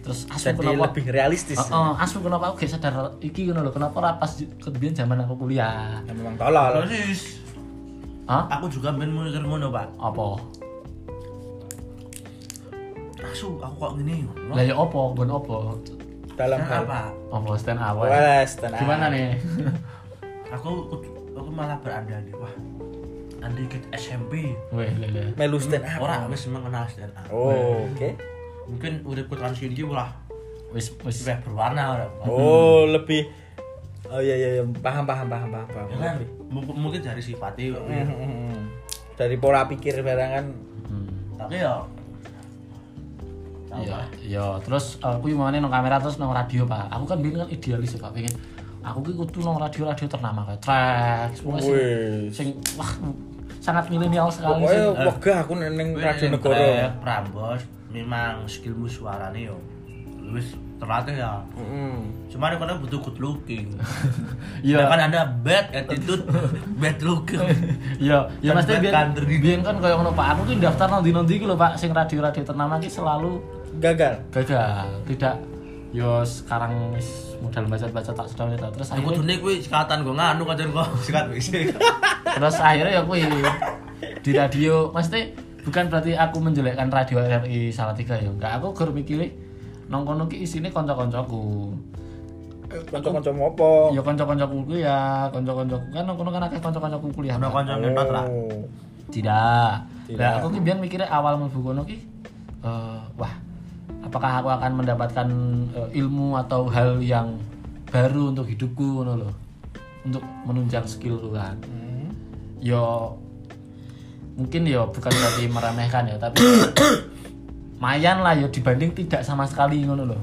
Speaker 1: terus asu
Speaker 3: jadi
Speaker 1: kenapa
Speaker 3: lebih realistis
Speaker 1: Heeh, asu kenapa aku gak sadar iki ngono lho, kenapa ora pas kebiyen zaman aku kuliah.
Speaker 3: ya memang tolol
Speaker 2: Terus
Speaker 1: Hah?
Speaker 2: aku juga main mikir ngono, Pak.
Speaker 1: Apa?
Speaker 2: Asu, aku kok gini.
Speaker 1: Lah ya apa? Nggon apa?
Speaker 3: iya, dalam hal
Speaker 2: Kenapa?
Speaker 1: Apa stand awal?
Speaker 3: Wes, tenang.
Speaker 1: Gimana nih?
Speaker 2: Aku aku malah berandai-andai. Wah. Andai ke SMP,
Speaker 1: Weh, lele.
Speaker 3: Melu stand
Speaker 1: Hmm,
Speaker 3: up.
Speaker 2: ora wis mengenal stand up.
Speaker 3: Iya, Oh, oke.
Speaker 2: Mungkin uripku tahun iki lah
Speaker 1: Wis wis
Speaker 2: sudah berwarna ora. Pak.
Speaker 3: Oh,
Speaker 1: Hmm.
Speaker 3: lebih Oh iya iya iya. paham paham paham paham paham.
Speaker 2: Ya kan? M- Mungkin dari sifatnya kok.
Speaker 3: Hmm, hmm, hmm. Dari pola pikir barang kan
Speaker 1: Hmm.
Speaker 2: Tapi ya
Speaker 1: Iya, iya. Terus aku mau nang kamera terus nang radio, Pak. Aku kan biyen kan idealis ya, Pak, pengen aku ki kudu nang radio-radio ternama kayak Trax, pokoknya sing-
Speaker 3: wih.
Speaker 1: sing wah sangat milenial sekali
Speaker 3: Pokoknya
Speaker 1: sih. Iya.
Speaker 3: wegah aku neng Radio Negara.
Speaker 2: Trek, Prambors memang skillmu suarane yo. Wis terlatih ya.
Speaker 3: Heeh.
Speaker 2: Cuman karena butuh good looking.
Speaker 1: Iya.
Speaker 2: Sedangkan Anda bad attitude, bad looking.
Speaker 1: Iya, ya
Speaker 2: Kan
Speaker 1: mesti
Speaker 2: buat
Speaker 1: biyen
Speaker 2: country.
Speaker 1: biyen kan kaya ngono Pak. Aku ki daftar nang ndi-ndi iki lho Pak, sing radio-radio ternama ki selalu
Speaker 3: Gagal.
Speaker 1: gagal, tidak yo sekarang wis modal baca-baca tak sedang tak terus
Speaker 2: Aku
Speaker 1: akhirnya,
Speaker 2: dunia kuwi sekatan gua nganu kacar gua sekat wis.
Speaker 1: terus akhirnya ya kuwi di radio mesti bukan berarti aku menjelekkan radio RRI Salatiga ya enggak aku gur mikir nang kono ki isine kanca-kancaku
Speaker 3: Kanca-kanca mopo?
Speaker 1: ya kanca-kancaku kuwi ya kanca-kancaku kan nang kono kan akeh kanca-kancaku kuliah
Speaker 2: Ono
Speaker 1: Pak.
Speaker 2: kanca ngentot lah.
Speaker 3: Oh.
Speaker 1: Tidak.
Speaker 3: Tidak.
Speaker 1: Nah, aku ki biyen mikirnya awal mlebu kono ki eh, wah, apakah aku akan mendapatkan eh, ilmu atau hal yang baru untuk hidupku ngono lho. Untuk menunjang skillku kan. Yo mungkin yo bukan berarti meremehkan ya, tapi mayan lah yo dibanding tidak sama sekali ngono lho.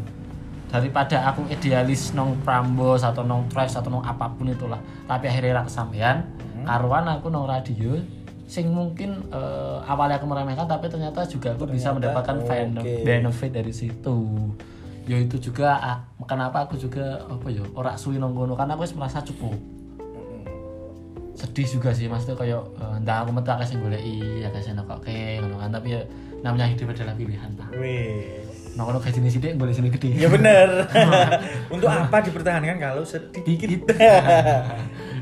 Speaker 1: Daripada aku idealis nong prambos atau nong trash atau nong apapun itulah, tapi akhirnya ra kesampean, karuan aku nong radio sing mungkin eh, awalnya aku meremehkan tapi ternyata juga aku bisa mendapatkan fan-
Speaker 3: oke.
Speaker 1: benefit dari situ. Yo itu juga ah, kenapa aku juga apa yo ora suwi nong kono karena aku wis merasa cukup. sedih juga sih mas tuh kayak eh, entah aku metu akeh sing goleki akeh sing nekokke ngono kan tapi ya namanya hidup adalah pilihan ta
Speaker 3: Wis.
Speaker 1: nah kalau gaji ini sithik golek sini gede
Speaker 3: Ya bener. Untuk apa dipertahankan kalau sedikit?
Speaker 1: dikit Ya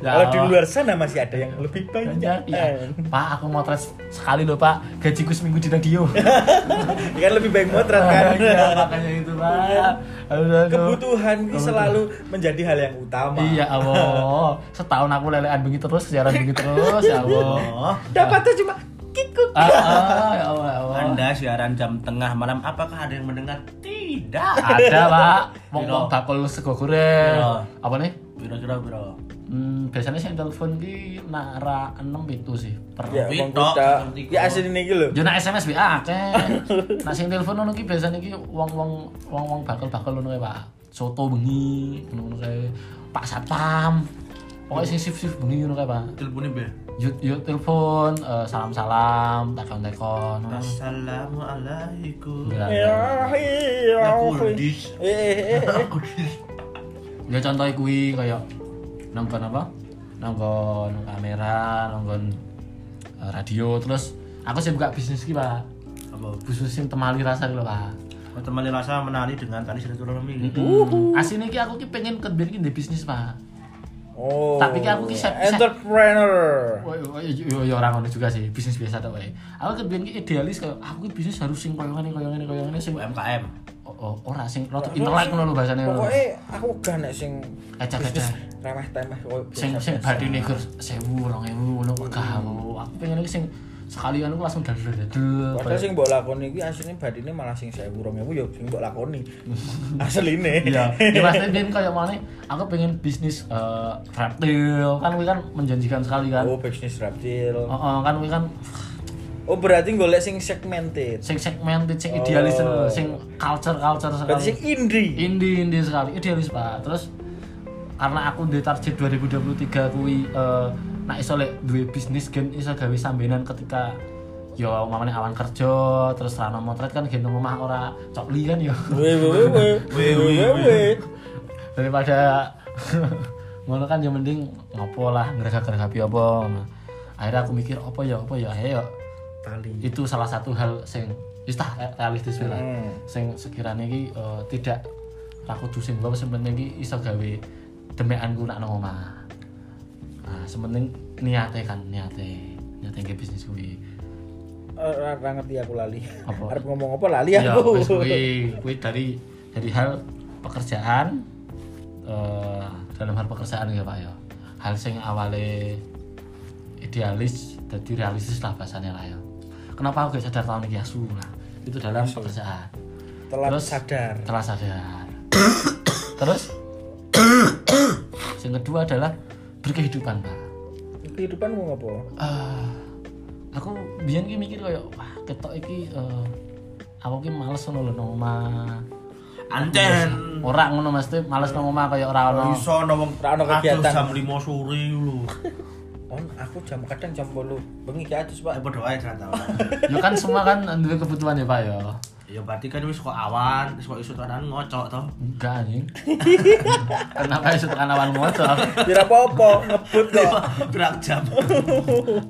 Speaker 3: Kalau di
Speaker 1: Allah.
Speaker 3: luar sana masih ada yang lebih
Speaker 1: Banyak,
Speaker 3: banyak.
Speaker 1: ya. Pak, aku mau tes sekali loh Pak, gajiku seminggu di radio.
Speaker 3: Ya kan lebih baik motret kan.
Speaker 1: Iya, makanya itu Pak. Aduh, aduh.
Speaker 3: kebutuhan ini selalu menjadi hal yang utama.
Speaker 1: Iya, Allah. Setahun aku lelean bengi terus, siaran bengi terus, ya Allah.
Speaker 2: Oh.
Speaker 3: Dapatnya cuma kikuk.
Speaker 1: Ah, ah, ya Allah, ya Allah.
Speaker 2: Anda siaran jam tengah malam apakah ada yang mendengar? Tidak.
Speaker 1: Ada, Pak. Wong-wong
Speaker 2: Piro?
Speaker 1: bakul sego goreng.
Speaker 2: Piro?
Speaker 1: Apa nih?
Speaker 2: Kira-kira bro.
Speaker 1: Hmm, biasanya saya telepon ki nak ra 6 itu sih per.
Speaker 3: Ya,
Speaker 2: Tapi
Speaker 3: Bang
Speaker 2: tok,
Speaker 3: Kuda.
Speaker 2: seperti
Speaker 3: Ya
Speaker 2: kok.
Speaker 3: asli ini lho.
Speaker 1: Yo nak SMS WA akeh. Nak sing telepon ngono ki biasanya ki wong-wong wong-wong bakal-bakal ngono kae, Pak. Soto bengi, ngono kae. Pak Satpam. Pokoknya sing shift-shift bengi ngono kae, Pak.
Speaker 2: Teleponnya be.
Speaker 1: Yo yo telepon eh, salam-salam, takon-takon. ngono.
Speaker 2: Assalamualaikum.
Speaker 1: Gila.
Speaker 3: Ya, iya,
Speaker 2: Aku
Speaker 3: iya.
Speaker 2: dis.
Speaker 3: Eh, eh, eh, eh.
Speaker 2: Aku dis.
Speaker 1: Ya contoh kuwi kaya nongkon apa? Nongkon kamera, nongkon eh, radio terus aku sih buka bisnis ki, Pak.
Speaker 2: Apa?
Speaker 1: khususin temali rasa lho pak
Speaker 2: Temali rasa menari dengan tali silaturahmi.
Speaker 1: Uhuh. Asine ki aku ki pengen kebir ki ndek bisnis pak.
Speaker 3: Oh.
Speaker 1: Tapi kan aku ki set- set-
Speaker 3: entrepreneur.
Speaker 1: Woy, woy, yo yo orang ngono juga sih, bisnis biasa tok wae. Aku kebir ki idealis kayak "Ah, aku ki bisnis harus sing koyo ngene koyo ngene koyo ngene sing
Speaker 2: UMKM.
Speaker 1: oh, oh, ora sing rotok intelek ngono lho bahasane lho.
Speaker 3: Pokoknya aku gak nek sing
Speaker 1: Ecek-ecek.
Speaker 3: bisnis remeh-temeh koyo biasa.
Speaker 1: Sing sing badine gur 1000 2000 ngono kok gak mau. Aku pengen ki sing sekalian aku langsung dal dal dal.
Speaker 3: Padahal sing mbok lakoni iki asline badine malah sing 1000 2000 ya sing mbok lakoni. Asline.
Speaker 1: Iya, ya maksudnya dia kayak mana? Aku pengen bisnis eh, reptil kan, kuwi kan menjanjikan sekali kan.
Speaker 3: Oh, bisnis reptil.
Speaker 1: Oh, oh, kan kuwi kan
Speaker 3: Oh, berarti golek sing segmented.
Speaker 1: sing segmented, sing idealis,
Speaker 3: Oh.
Speaker 1: sing culture culture
Speaker 3: Berarti sing
Speaker 1: sekali.
Speaker 3: indie.
Speaker 1: Indie indie sekali, idealis pak. Terus karena aku di target 2023 kuwi eh nak iso lek duwe bisnis gen iso gawe sambenan ketika yo mamane awan kerja terus rano motret kan gen omah ora cokli kan yo
Speaker 3: Weh weh weh weh.
Speaker 2: Weh, weh, weh.
Speaker 1: daripada ngono kan yang mending ngopo lah ngerga-ngerga piye apa Nah, akhirnya aku mikir apa ya apa ya akhirnya yo
Speaker 3: Tali.
Speaker 1: itu salah satu hal sing wis tah eh, realistis wae lah.
Speaker 3: Hmm.
Speaker 1: Sing sekiranya iki eh, tidak aku sing wae sing penting iki iso gawe demekanku nak nang omah. Nah, sing penting niate kan niate. Niate nggih bisnis kuwi.
Speaker 3: Ora ora Eh, ngerti aku lali.
Speaker 1: Apa?
Speaker 3: Arep ngomong apa lali
Speaker 1: Ya,
Speaker 3: aku.
Speaker 1: wis kuwi kuwi dari dari hal pekerjaan eh dalam hal pekerjaan ya Pak ya. Hal sing awale idealis jadi realistis lah bahasanya lah ya. Kenapa aku gak sadar tahun ini asu lah. Itu dalam pekerjaan.
Speaker 3: Telat
Speaker 1: Terus-
Speaker 3: sadar.
Speaker 1: Telah sadar. Terus yang kedua adalah berkehidupan Pak.
Speaker 3: Kehidupan mau apa?
Speaker 1: Ah, aku biyen ki mikir koyo wah ketok iki eh, aku ki males ngono lho nang omah.
Speaker 2: Anten.
Speaker 1: Ora ngono Mas, Tip. males nang omah kaya ora ono.
Speaker 2: Iso ana wong
Speaker 3: Ra ono kegiatan.
Speaker 2: jam 5 sore lho.
Speaker 3: On aku jam kadang jam 8 bengi gak adus,
Speaker 2: Ya
Speaker 3: Pak.
Speaker 2: padha wae ternyata.
Speaker 1: Ya kan semua kan duwe kebutuhan ya Pak ya.
Speaker 2: Ya berarti kan wis kok awan, wis kok iso tenan ngocok to.
Speaker 1: Enggak anjing. Kenapa iso tekan awan ngocok?
Speaker 3: Kira apa-apa ngebut kok.
Speaker 2: Gerak jam.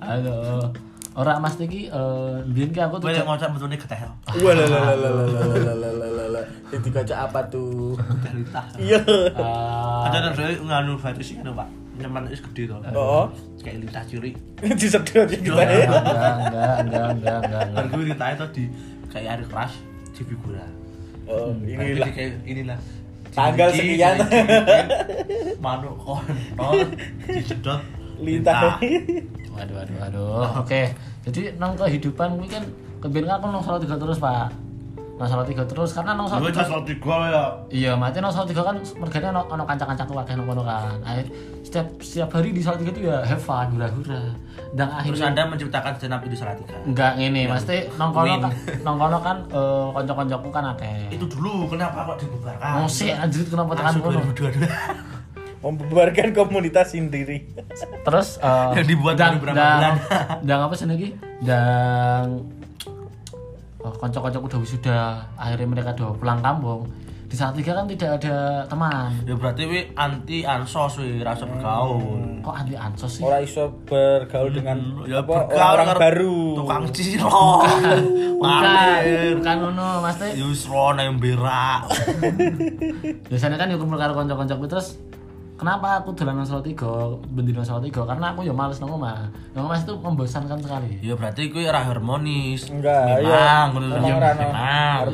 Speaker 1: Halo. Ora Mas iki eh biyen ki aku
Speaker 2: Kowe
Speaker 1: tuh
Speaker 2: lek ngocok metune geteh to.
Speaker 3: Walalalalalalalalala. Jadi kocok apa tuh?
Speaker 2: Cerita.
Speaker 3: Iya.
Speaker 1: eh,
Speaker 2: Ada nang dhewe nganu virus iki lho, Pak. Nyaman wis gede to.
Speaker 3: Oh,
Speaker 2: Kayak lintah ciri.
Speaker 3: disedot ya kita ya.
Speaker 1: enggak enggak enggak enggak enggak
Speaker 2: Kan
Speaker 1: enggak.
Speaker 2: kuwi lintahnya to di kayak air keras di figura.
Speaker 3: Oh,
Speaker 2: Ini
Speaker 3: inilah.
Speaker 2: kayak inilah.
Speaker 3: Tanggal
Speaker 2: Dibikin,
Speaker 3: sekian.
Speaker 2: dibikin, Manuk kontol disedot
Speaker 3: Lintah.
Speaker 1: Waduh, waduh, waduh. Oke, jadi nang kehidupan gue kan kebetulan aku nong salah tiga terus pak. Nong salah tiga terus karena nong salah
Speaker 2: Gue
Speaker 1: tiga.
Speaker 2: tas lo tiga ya.
Speaker 1: Iya, mati nong salah tiga kan mergane ono ono kancak-kancak keluarga nong kono kan. Akhir setiap setiap hari di salah tiga itu ya have fun, hura-hura. Dan
Speaker 2: Terus
Speaker 1: akhirnya
Speaker 2: anda menciptakan jenap itu salah tiga.
Speaker 1: enggak ngene, mesti nong kono
Speaker 2: Win.
Speaker 1: kan nong kono kan eh, kanca-kancaku kan akeh.
Speaker 2: Itu dulu kenapa kok dibubarkan?
Speaker 1: Musik anjir kenapa tekan
Speaker 2: Langsung
Speaker 1: kono.
Speaker 2: 2022.
Speaker 3: Membubarkan komunitas sendiri.
Speaker 1: Terus eh,
Speaker 2: Yang dibuat
Speaker 1: dang,
Speaker 2: baru berapa
Speaker 1: dang,
Speaker 2: bulan.
Speaker 1: dang apa sih lagi? Dang oh, kocok-kocok udah wisuda, akhirnya mereka udah pulang kampung. Di saat tiga kan tidak ada teman.
Speaker 2: Ya berarti wi anti ansos wi
Speaker 3: Hmm.
Speaker 2: rasa bergaul.
Speaker 1: Kok anti ansos sih?
Speaker 3: Orang iso bergaul dengan
Speaker 2: Ya
Speaker 3: apa,
Speaker 2: bergaul
Speaker 3: orang
Speaker 2: karo
Speaker 3: baru.
Speaker 2: Tukang ciro.
Speaker 1: Bukan,
Speaker 2: Malir.
Speaker 1: bukan ngono, Mas Teh.
Speaker 2: Ya, Yusron yang berak.
Speaker 1: Biasanya kan yo kumpul karo kanca-kancaku terus Kenapa aku dolanan Solo 3, bendino Solo 3? Karena aku ya males nang omah. Nang omah itu membosankan sekali.
Speaker 2: Ya berarti kuwi ora harmonis.
Speaker 3: Enggak, iya.
Speaker 2: Memang, menurut
Speaker 3: Emang
Speaker 2: saya.
Speaker 3: ora, no.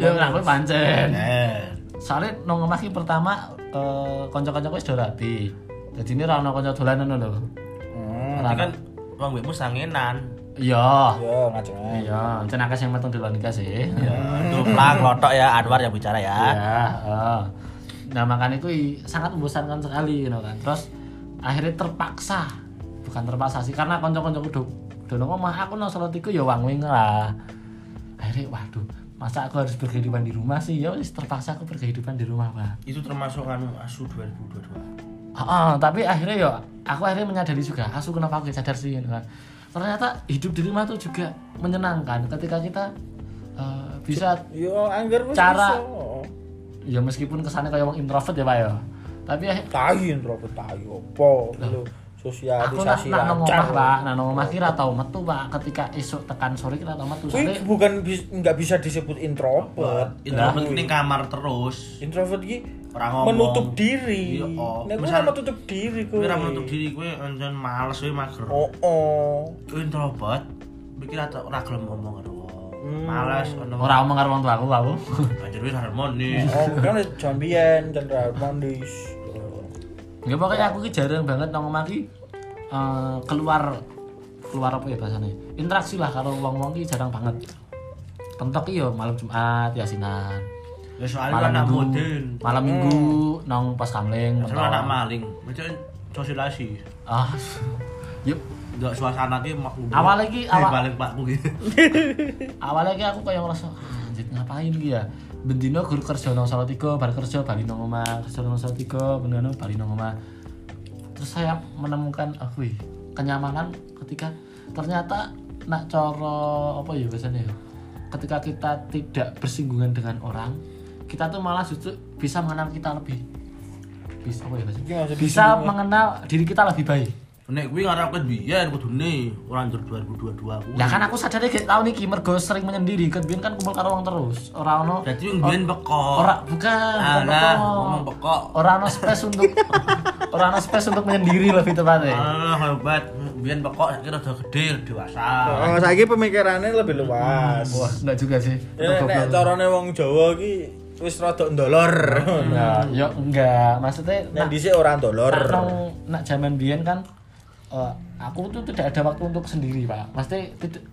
Speaker 2: Memang.
Speaker 1: Ya aku pancen.
Speaker 2: Eh.
Speaker 1: soalnya nong omah ki pertama eh, kanca-kancaku wis dorati. Jadi ini ra ono kanca dolanan lho. Ora
Speaker 2: Berarti
Speaker 3: Hmm,
Speaker 1: ono.
Speaker 2: kan wong mbekmu sangenan.
Speaker 1: Iya.
Speaker 3: ya ngajeng aja.
Speaker 1: Iya, cenah akeh sing metu dolan nikah sih.
Speaker 2: Ya, duplang lotok ya Anwar yang bicara ya.
Speaker 1: Hmm. Iya, heeh. Nah, makanya itu sangat membosankan sekali you know, kan. Terus akhirnya terpaksa bukan terpaksa sih karena kanca-kancaku do do nang omah aku nang Solo iku ya wangwing lah. Akhirnya waduh, masa aku harus berkehidupan di rumah sih? Ya wis terpaksa aku berkehidupan di rumah, Pak.
Speaker 2: Itu termasuk anu asu 2022.
Speaker 1: Ah, ah, tapi akhirnya ya aku akhirnya menyadari juga asu kenapa aku sadar sih gitu kan. ternyata hidup di rumah tuh juga menyenangkan ketika kita eh, bisa
Speaker 3: Yo anggar wis
Speaker 1: Cara-
Speaker 3: Iya, iso.
Speaker 1: ya meskipun kesannya kayak orang introvert ya pak ya tapi akhir-
Speaker 3: Tayin robot tayu apa lho.
Speaker 1: aku nak
Speaker 3: Sosialisasi
Speaker 1: nak nang
Speaker 3: lancar.
Speaker 1: omah pak nak nang omah kira tau metu pak ketika esok tekan sore kira tau metu
Speaker 3: Kuwi
Speaker 1: soalnya
Speaker 3: bukan bis- nggak bisa disebut introvert.
Speaker 2: Introvert
Speaker 3: Kuwi.
Speaker 2: ning
Speaker 1: iya.
Speaker 2: kamar terus.
Speaker 3: Introvert ki
Speaker 2: Ora ngomong.
Speaker 3: menutup diri.
Speaker 2: Iya, oh.
Speaker 3: Nek
Speaker 2: Misal-
Speaker 3: ora menutup diri kuwi.
Speaker 2: Kuwi ora menutup diri kuwi anjen males kuwi mager.
Speaker 3: Oh, oh.
Speaker 2: Kuwi introvert mikir atau ora gelem ngomong karo wong.
Speaker 1: Hmm.
Speaker 2: Males ono
Speaker 1: ora omong karo wong tuaku aku
Speaker 2: anjir wis harmonis.
Speaker 3: Oh, kan wis jambian kan ra harmonis.
Speaker 1: ya pokoknya aku ki jarang banget nang omah ki eh, keluar keluar apa ya bahasanya interaksi lah karo wong-wong ki jarang banget pentok ki yo malam Jumat yasinan
Speaker 2: Ya
Speaker 1: Hmm.
Speaker 2: soalnya
Speaker 1: malam
Speaker 2: anak
Speaker 1: minggu
Speaker 2: modern.
Speaker 1: malam minggu nang pas kamling
Speaker 2: Soalnya anak maling. Macam sosialisasi.
Speaker 1: ah yup
Speaker 2: Enggak suasana ki mak
Speaker 1: Awal lagi, awal-
Speaker 2: balik pakku gitu.
Speaker 1: awalnya kayak aku kayak ngerasa "Ah, anjir ngapain gitu ya bendino guru kerja nang Salatiga bar kerja bali nang omah kerja nang Salatiga bendino bali nang omah terus saya menemukan aku wih, kenyamanan ketika ternyata nak coro apa ya biasanya ya ketika kita tidak bersinggungan dengan orang kita tuh malah justru bisa mengenal kita lebih bisa apa ya bahasanya?
Speaker 3: Iya, jadi
Speaker 1: bisa
Speaker 3: singgungan.
Speaker 1: mengenal diri kita lebih baik
Speaker 2: Nek kuwi ngarepke biyen kudune ora njur 2022
Speaker 1: ya
Speaker 2: kuwi.
Speaker 3: Iya.
Speaker 1: kan aku sadar gak tahu nih mergo sering menyendiri kan biyen kan kumpul karo wong terus orang ono
Speaker 2: Dadi wong
Speaker 3: Oh.
Speaker 2: biyen peko.
Speaker 1: ora bukan bukan
Speaker 2: Oh. Alah,
Speaker 1: pokok.
Speaker 2: Ah, ngomong pekok.
Speaker 1: orang ono space untuk orang ono space untuk menyendiri lebih tepatnya
Speaker 2: Alah hebat. Biyen pekok saiki rada gede, dewasa.
Speaker 3: Oh, saiki pemikirannya lebih luas.
Speaker 2: Hmm.
Speaker 1: wah enggak juga sih
Speaker 3: Ya,
Speaker 1: Goblok.
Speaker 3: Eh, nek carane wong Jawa ki wis rada ndolor.
Speaker 2: Hmm.
Speaker 3: Nah,
Speaker 1: ya enggak maksudnya
Speaker 3: nek
Speaker 1: nak
Speaker 3: dhisik ora ndolor.
Speaker 1: nak nong- nak zaman biyen kan eh, aku tuh tidak ada waktu untuk sendiri pak maksudnya tidak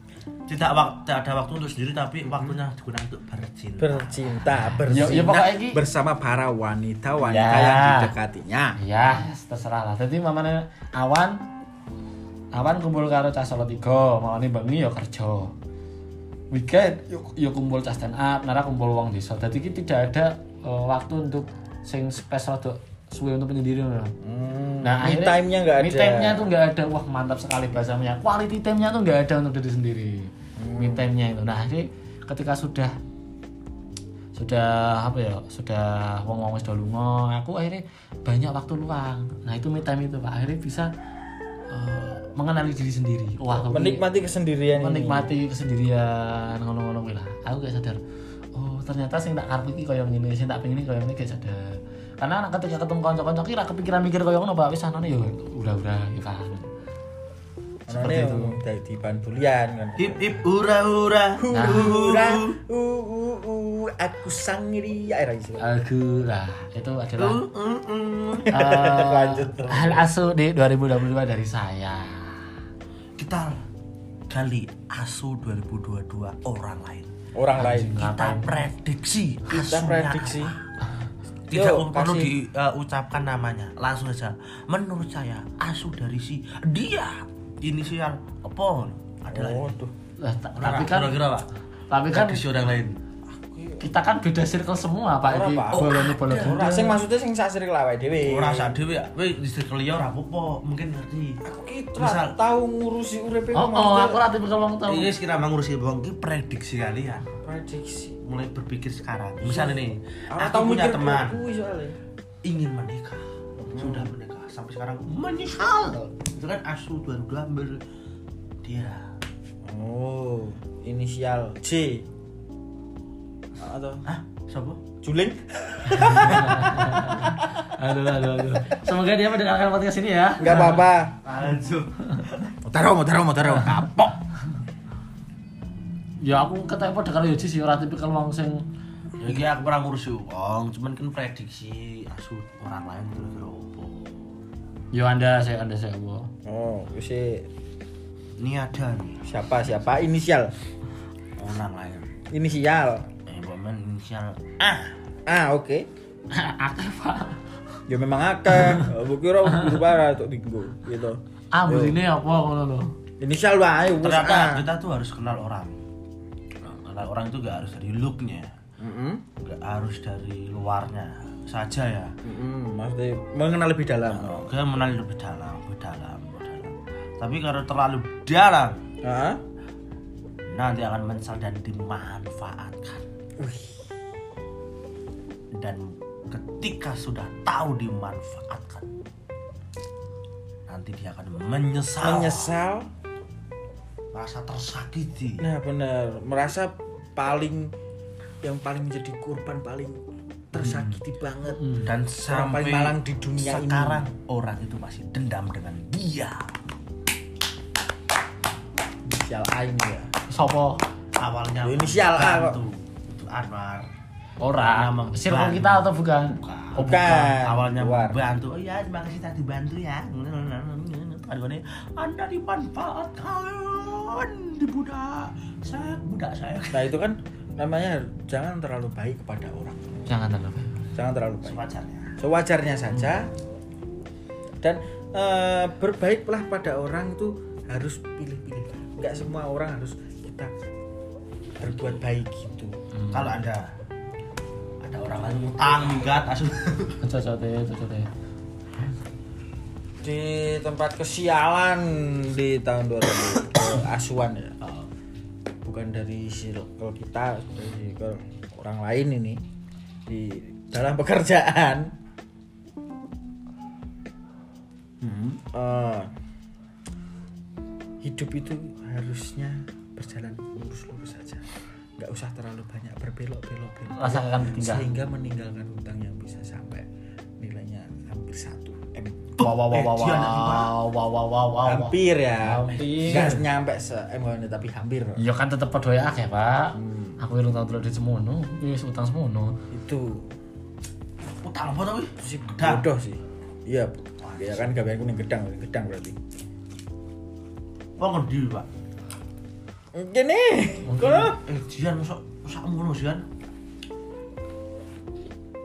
Speaker 2: Tidak wak- tidak ada waktu untuk sendiri tapi waktunya digunakan untuk bercinta.
Speaker 3: Bercinta,
Speaker 1: Ya, ya,
Speaker 3: berzina
Speaker 1: pokoknya ki-
Speaker 3: bersama para wanita-wanita
Speaker 1: Ya.
Speaker 3: yang didekatinya.
Speaker 1: ya terserah lah jadi mamane awan awan kumpul karo cah solo tiga mamane bengi ya kerja weekend yuk yuk kumpul cah stand up nara kumpul wong desa jadi ki tidak ada eh, waktu untuk sing space rada suwe untuk menyendiri ngono.
Speaker 3: me Hmm. Nah, time-nya
Speaker 1: me
Speaker 3: nggak ada.
Speaker 1: Hmm. Nah, time-nya tuh nggak ada wah mantap sekali bahasanya quality time-nya tuh nggak ada untuk diri sendiri
Speaker 3: Hmm.
Speaker 1: me time-nya itu nah jadi ketika sudah sudah apa ya sudah wong wong sudah lunga aku akhirnya banyak waktu luang nah itu me time itu pak akhirnya bisa eh, mengenali diri sendiri wah aku ini-
Speaker 3: Menikmati kesendirian ini.
Speaker 1: menikmati kesendirian ngono-ngono kuwi lah. Aku gak sadar. Oh, ternyata sing tak karep iki kaya ngene, sing tak pengen iki kaya ngene gak sadar. Karena anak ketika ketemu kanca-kanca ki ra kepikiran mikir kaya ngono, Pak. Wis anane ya ura-ura ya kan.
Speaker 3: Anane
Speaker 1: Seperti itu.
Speaker 3: Dari pandulian kan. Nah.
Speaker 2: Hip hip hura hura.
Speaker 3: Hura, uh, uh, uh, aku sang ria. Eh, ra isi.
Speaker 1: Aku lah itu adalah
Speaker 2: Mm, mm.
Speaker 1: eh,
Speaker 3: Lanjut terus.
Speaker 1: hal asu di 2022 dari saya.
Speaker 2: Kita kali asu 2022 orang lain.
Speaker 3: Orang lain.
Speaker 2: Kita prediksi.
Speaker 3: Kita
Speaker 2: asunya
Speaker 3: prediksi.
Speaker 2: apa. Tidak
Speaker 3: Yuk,
Speaker 2: perlu
Speaker 3: kasih.
Speaker 2: diucapkan namanya, langsung aja. Menurut saya asu dari si dia inisial apa adalah ini.
Speaker 3: Waduh.
Speaker 1: Lah, ta-
Speaker 2: Ora,
Speaker 1: tapi kan
Speaker 2: kira-kira Pak.
Speaker 1: tapi kan
Speaker 2: Prediksi orang lain.
Speaker 1: kita kan beda circle semua, Pak.
Speaker 3: Ora,
Speaker 1: Iki
Speaker 3: Pak.
Speaker 1: bolone bolone.
Speaker 3: Ora sing maksudnya sing sak sirkel awake dhewe.
Speaker 2: Ora sak dhewe ya, kowe di circle liya ora apa-apa, mungkin ngerti.
Speaker 3: Aku ki
Speaker 2: Misal-
Speaker 3: tra- tahu ngurusi e uripe
Speaker 1: Oh, oh,
Speaker 3: maksudnya
Speaker 1: aku ra tipe wong tau.
Speaker 2: Ini Iya, kira mengurusi wong iki prediksi kalian.
Speaker 3: prediksi.
Speaker 2: Mulai berpikir sekarang. Misalnya nih,
Speaker 3: Aku
Speaker 2: aku
Speaker 3: tahu
Speaker 2: punya
Speaker 3: mikir
Speaker 2: teman
Speaker 3: kuwi soalnya.
Speaker 2: ingin menikah. Sudah menikah sampai sekarang menyesal. Itu kan asu 2002 ber dia.
Speaker 3: Oh, inisial J. Atau
Speaker 2: Hah? Siapa?
Speaker 3: Juling?
Speaker 1: aduh, aduh, aduh. Semoga dia mendengarkan podcast ini ya.
Speaker 3: Enggak apa-apa.
Speaker 2: Asu.
Speaker 3: Motaro, motaro, motaro. Kapok.
Speaker 1: Ya aku ketepo karo Yoji sih ora tipikal wong sing
Speaker 2: Ya iki aku ora ngurusi wong, cuman kan prediksi asu orang lain kira-kira apa.
Speaker 1: yo Anda saya Anda saya apa.
Speaker 3: Oh, si
Speaker 2: Ini ada nih
Speaker 3: siapa siapa inisial?
Speaker 2: orang ya. lain.
Speaker 3: Inisial.
Speaker 2: Eh, pemain inisial A.
Speaker 3: Ah, oke.
Speaker 1: Akeh, Pak.
Speaker 3: Ya memang akeh. Aku kira berubah untuk dinggo gitu.
Speaker 1: Ah, ini apa ngono lho.
Speaker 3: Inisial wae wis
Speaker 2: Ternyata
Speaker 3: ah.
Speaker 2: kita tuh harus kenal orang. Nah, Kenal orang itu gak harus dari looknya,
Speaker 3: Heeh.
Speaker 2: gak harus dari luarnya saja ya.
Speaker 3: Heeh, maksudnya mengenal lebih dalam.
Speaker 2: Oke, mengenal lebih dalam, lebih dalam, lebih dalam. Tapi kalau terlalu dalam,
Speaker 3: Heeh.
Speaker 2: nanti akan menyesal dan dimanfaatkan. Dan ketika sudah tahu dimanfaatkan, nanti dia akan menyesal,
Speaker 3: Menyesal.
Speaker 2: merasa tersakiti.
Speaker 3: Nah, bener. Merasa paling yang paling menjadi korban paling tersakiti banget.
Speaker 2: dan sampai
Speaker 3: paling malang di dunia ini.
Speaker 2: sekarang orang itu masih dendam dengan dia
Speaker 3: Inisial A ini ya.
Speaker 1: Sopo?
Speaker 2: awalnya
Speaker 3: Loh, inisial
Speaker 2: ah,
Speaker 3: A kok.
Speaker 2: itu itu Anwar
Speaker 1: Ora.
Speaker 2: Nama
Speaker 1: Circle
Speaker 2: Bang.
Speaker 1: kita atau bukan?
Speaker 2: Oh, bukan.
Speaker 3: Bukan.
Speaker 2: awalnya
Speaker 3: Luar.
Speaker 2: membantu oh ya terima kasih tadi bantu ya Aduannya, anda dimanfaatkan di budak saya budak saya
Speaker 3: Nah, itu kan namanya jangan terlalu baik kepada orang.
Speaker 1: Jangan terlalu.
Speaker 3: Jangan terlalu baik.
Speaker 2: sewajarnya
Speaker 3: sewajarnya saja dan eh, berbaiklah pada orang itu harus pilih-pilih nggak semua orang harus kita berbuat baik gitu
Speaker 2: kalau anda ada orang lain utang minggat asuh
Speaker 1: Cocote, cocote.
Speaker 3: di tempat kesialan di tahun 2000 ke asuhan ya bukan dari circle kita dari circle orang lain ini di dalam pekerjaan eh, hidup itu harusnya berjalan lurus-lurus saja nggak usah terlalu banyak berbelok-belok belok
Speaker 1: Rasa akan ditinggal.
Speaker 3: sehingga meninggalkan hutang yang bisa sampai nilainya hampir satu m
Speaker 1: wow wow wow wow
Speaker 2: Eh, dia anak
Speaker 1: wow wow wow wow wow
Speaker 3: hampir ya
Speaker 1: Hampir.
Speaker 3: nggak nyampe se m tapi hampir
Speaker 1: ya kan tetep podo ya ya pak aku urung tau dulu di semono Iya, wis utang semono
Speaker 3: itu
Speaker 2: Utang apa tapi?
Speaker 3: sih
Speaker 2: Gedang.
Speaker 3: bodoh sih iya ya kan gaweanku ning gedang ning gedang berarti
Speaker 2: Apa ngendi, Pak?
Speaker 3: gini kono
Speaker 2: Eh, Jian mosok mosok ngono, Jian.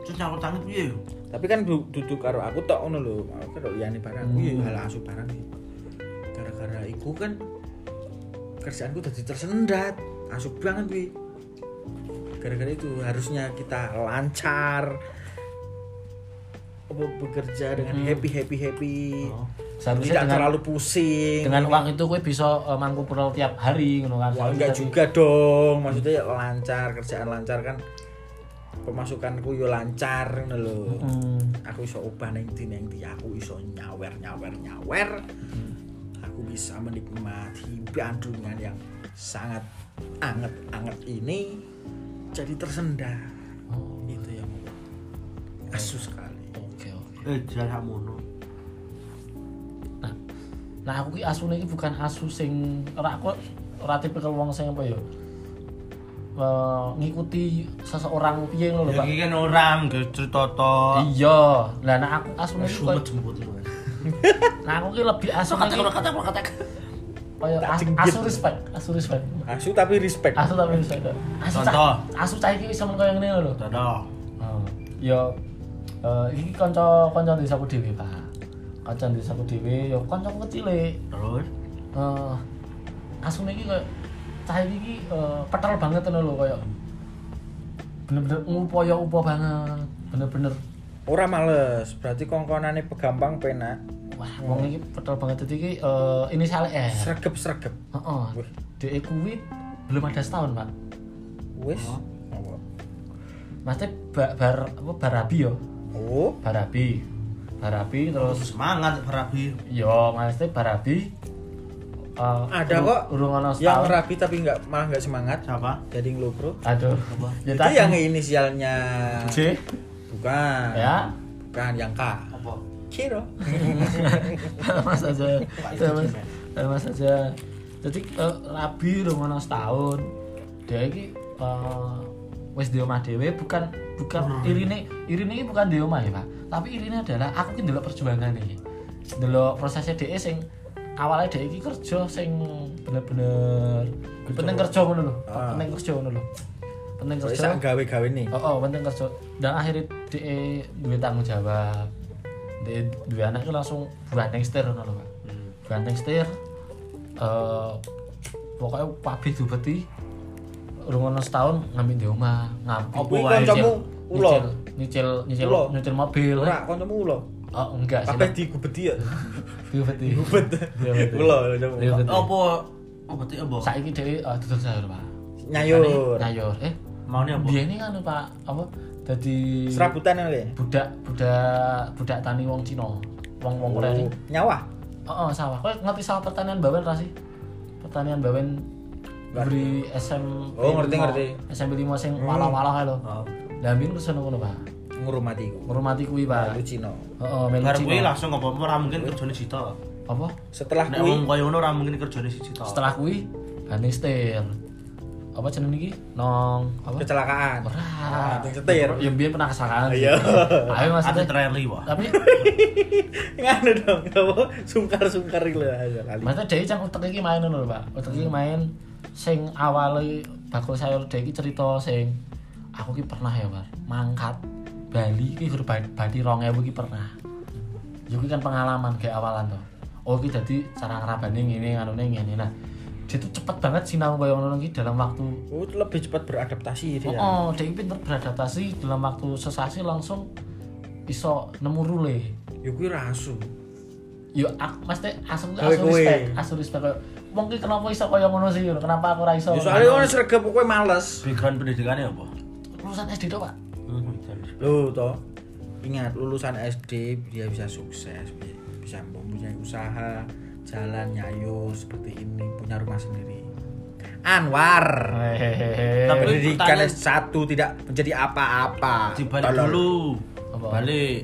Speaker 2: Terus nyawut tangi piye yo?
Speaker 3: tapi kan du- duduk karo aku tok ngono lho aku kan tok liyane barang aku
Speaker 1: Hmm.
Speaker 3: ya hal asu barang sih gara-gara iku kan kerjaanku jadi tersendat asu banget kuwi gara-gara itu harusnya kita lancar Apa, bekerja dengan happy happy happy
Speaker 1: Hmm. Oh. seharusnya
Speaker 3: tidak
Speaker 1: dengan
Speaker 3: terlalu pusing
Speaker 1: dengan uang itu gue bisa eh, mangku pulau tiap hari ngono kan
Speaker 3: Wah, enggak
Speaker 1: Tapi-
Speaker 3: juga dong. Maksudnya ya lancar, kerjaan lancar kan. Pemasukanku yo lancar ngono lho.
Speaker 1: Hmm.
Speaker 3: Aku iso obah ning ndi ning ndi, aku iso nyawer nyawer nyawer. Aku bisa menikmati bandungan yang sangat anget-anget ini jadi tersendat. Itu yang asu sekali.
Speaker 1: oke oke
Speaker 2: Eh, Jian sak ngono.
Speaker 1: nah nah aku ki asune iki bukan asu sing ora aku ora tipikal wong sing apa ya eh, ngikuti seseorang piye ngono lho
Speaker 2: Ya
Speaker 1: Pak
Speaker 2: iki kan orang ge cerita Eh, to.
Speaker 1: iya lah nah aku asune iki
Speaker 2: Sumet
Speaker 1: koyo-
Speaker 2: jemputmu.
Speaker 1: nah aku ki lebih asu
Speaker 2: Kata
Speaker 1: kaya
Speaker 2: kata kata kata.
Speaker 1: kaya
Speaker 3: Tak
Speaker 1: as-
Speaker 3: jenggit.
Speaker 1: asu respect asu respect
Speaker 3: Asu tapi respect.
Speaker 1: asu tapi respect asu cah-
Speaker 2: Contoh.
Speaker 1: asu cah iki iso men koyo ngene lho
Speaker 2: Dadah.
Speaker 1: Oh, ya eh, iki kanca kanca desaku dhewe, Pak. Kanca desaku dhewe ya e. kanca kecilik.
Speaker 2: Terus
Speaker 1: Eh asune iki koyo cah iki iki eh, petel banget ngono lho koyo bener-bener ngupaya upa banget, bener-bener
Speaker 3: Ora males, berarti kongkonane pegampang penak.
Speaker 1: wah wong iki petel banget dadi iki eh, ini saleh ya.
Speaker 3: Sregep-sregep.
Speaker 1: Heeh.
Speaker 3: Wih.
Speaker 1: Dhewe kuwi belum ada setahun, Pak.
Speaker 3: Wis.
Speaker 1: Oh.
Speaker 3: Apa?
Speaker 1: Maksudnya bar, bar, apa, barabi ya?
Speaker 3: Oh,
Speaker 1: Barabi. Barabi terus
Speaker 2: semangat Rabi.
Speaker 1: Yo, maksudnya barabi uh,
Speaker 3: Ada
Speaker 1: ur-
Speaker 3: kok
Speaker 1: urung ono
Speaker 3: yang
Speaker 1: setahun.
Speaker 3: rapi tapi nggak malah nggak semangat.
Speaker 2: Siapa?
Speaker 3: Jadi lo bro.
Speaker 1: Aduh.
Speaker 2: Apa?
Speaker 1: Ya
Speaker 3: itu
Speaker 1: tadi
Speaker 3: yang inisialnya
Speaker 1: C.
Speaker 3: bukan.
Speaker 1: Ya.
Speaker 3: Bukan yang K.
Speaker 2: Apa?
Speaker 3: Kiro.
Speaker 1: Mas aja. Mas, mas aja. Jadi eh, rabi urung ono setahun. Dia iki eh, wis di omah dhewe bukan bukan
Speaker 3: Hmm.
Speaker 1: irine irine iki bukan di omah ya, Pak. Tapi irine adalah aku ki ndelok perjuangan iki. Ndelok prosesnya dhek sing awalnya dhek iki kerja sing bener-bener penting kerja ngono lho.
Speaker 3: Ah.
Speaker 1: Penting kerja ngono lho. Penting
Speaker 3: Soalnya
Speaker 1: kerja.
Speaker 3: sak gawe-gawe nih.
Speaker 1: Oh, oh penting kerja. Dan akhirnya dia duwe tanggung jawab. Dia duwe anak itu langsung buanteng setir ngono lho, Pak.
Speaker 3: Hmm.
Speaker 1: Buanteng setir. Eh pokoknya pabrik dubeti urung ono setahun ngambil di rumah, ngambil.
Speaker 3: Apa iki kancamu ulo?
Speaker 1: Nyicil nyicil
Speaker 3: Ulo?
Speaker 1: nyicil mobil.
Speaker 3: Ora kancamu ulo.
Speaker 1: Oh, enggak sih.
Speaker 3: Kabeh digubeti ya.
Speaker 1: Dubeti.
Speaker 3: Gubet.
Speaker 1: Dubeti.
Speaker 3: Ulo kancamu.
Speaker 1: Dubeti.
Speaker 2: Eh, Apa? Obatnya apa?
Speaker 1: Saiki dhewe eh, duduk sayur, Pak.
Speaker 3: Nyayur.
Speaker 1: Nyayur. Eh,
Speaker 2: Mau
Speaker 3: Iya,
Speaker 2: apa?
Speaker 1: biyen ini kan Pak apa dadi
Speaker 3: Serabutan ya, kali.
Speaker 1: budak budak budak tani wong Cina wong wong Korea ini
Speaker 3: Nyawa.
Speaker 1: oh, oh sawah kau ngerti sawah pertanian bawen ra sih pertanian bawen beri SMP
Speaker 3: Oh, ngerti,
Speaker 1: lima-
Speaker 3: ngerti. Hmm.
Speaker 1: SMP lima sing walah walah kae lho
Speaker 2: Oh.
Speaker 1: dambin ku seneng ngono pak
Speaker 3: Ngurumati ku.
Speaker 1: ngurmati kuwi pak
Speaker 3: Lu Cino.
Speaker 1: oh, oh melu
Speaker 2: Bar kuwi
Speaker 1: Cina
Speaker 2: langsung apa apa ora mungkin kerjane sita.
Speaker 1: apa
Speaker 3: Setelah
Speaker 2: Nek
Speaker 3: kui
Speaker 2: wong kaya ngono ora mungkin kerjane siji to.
Speaker 1: setelah kuwi banister apa jeneng iki nong apa
Speaker 3: kecelakaan.
Speaker 1: ora
Speaker 3: Yang Ah, setir.
Speaker 1: ya biyen pernah kesalahan
Speaker 3: Iya.
Speaker 1: ayo
Speaker 2: Ate
Speaker 1: maksudnya
Speaker 2: trailer wae.
Speaker 1: tapi
Speaker 3: Nganu dong, apa sungkar-sungkar iki lho aja kali.
Speaker 1: Maksudnya Dewi kan utek iki main ngono lho, Pak. Utek iki main sing awale bakul sayur Dewi iki cerita sing aku ki pernah ya, Pak. Mangkat Bali iki berbadi 2000 iki pernah. Yo ki kan pengalaman kayak awalan to. Oh ki dadi cara ngrabane ngene nganune ngene. Nah, dia tuh cepet banget sinau koyo ngono iki dalam waktu
Speaker 3: Oh, lebih cepat beradaptasi ya.
Speaker 1: Oh,
Speaker 3: dia.
Speaker 1: oh, dia iki pinter beradaptasi dalam waktu sesasi langsung iso nemu rule.
Speaker 3: Ya kuwi rasu.
Speaker 1: yo aku mesti asem tuh
Speaker 3: Kowe
Speaker 1: asem
Speaker 3: kowe.
Speaker 1: respect, asem respect koyo wong ki kenapa iso koyo ngono sih yo? Kenapa aku ora iso? Nah,
Speaker 3: Ya, soalnya kan sregep kowe males.
Speaker 2: background pendidikannya apa?
Speaker 1: lulusan SD tok, Pak.
Speaker 3: Loh toh. Ingat lulusan SD dia bisa sukses, bi- bisa mempunyai usaha, jalan nyayu seperti ini, punya rumah sendiri. Anwar.
Speaker 1: Hehehe.
Speaker 2: Tapi-
Speaker 3: Pendidikan
Speaker 2: pertanyaan-
Speaker 3: S1 tidak menjadi apa-apa.
Speaker 2: dibalik
Speaker 3: Tolol.
Speaker 2: dulu
Speaker 1: Apa?
Speaker 2: balik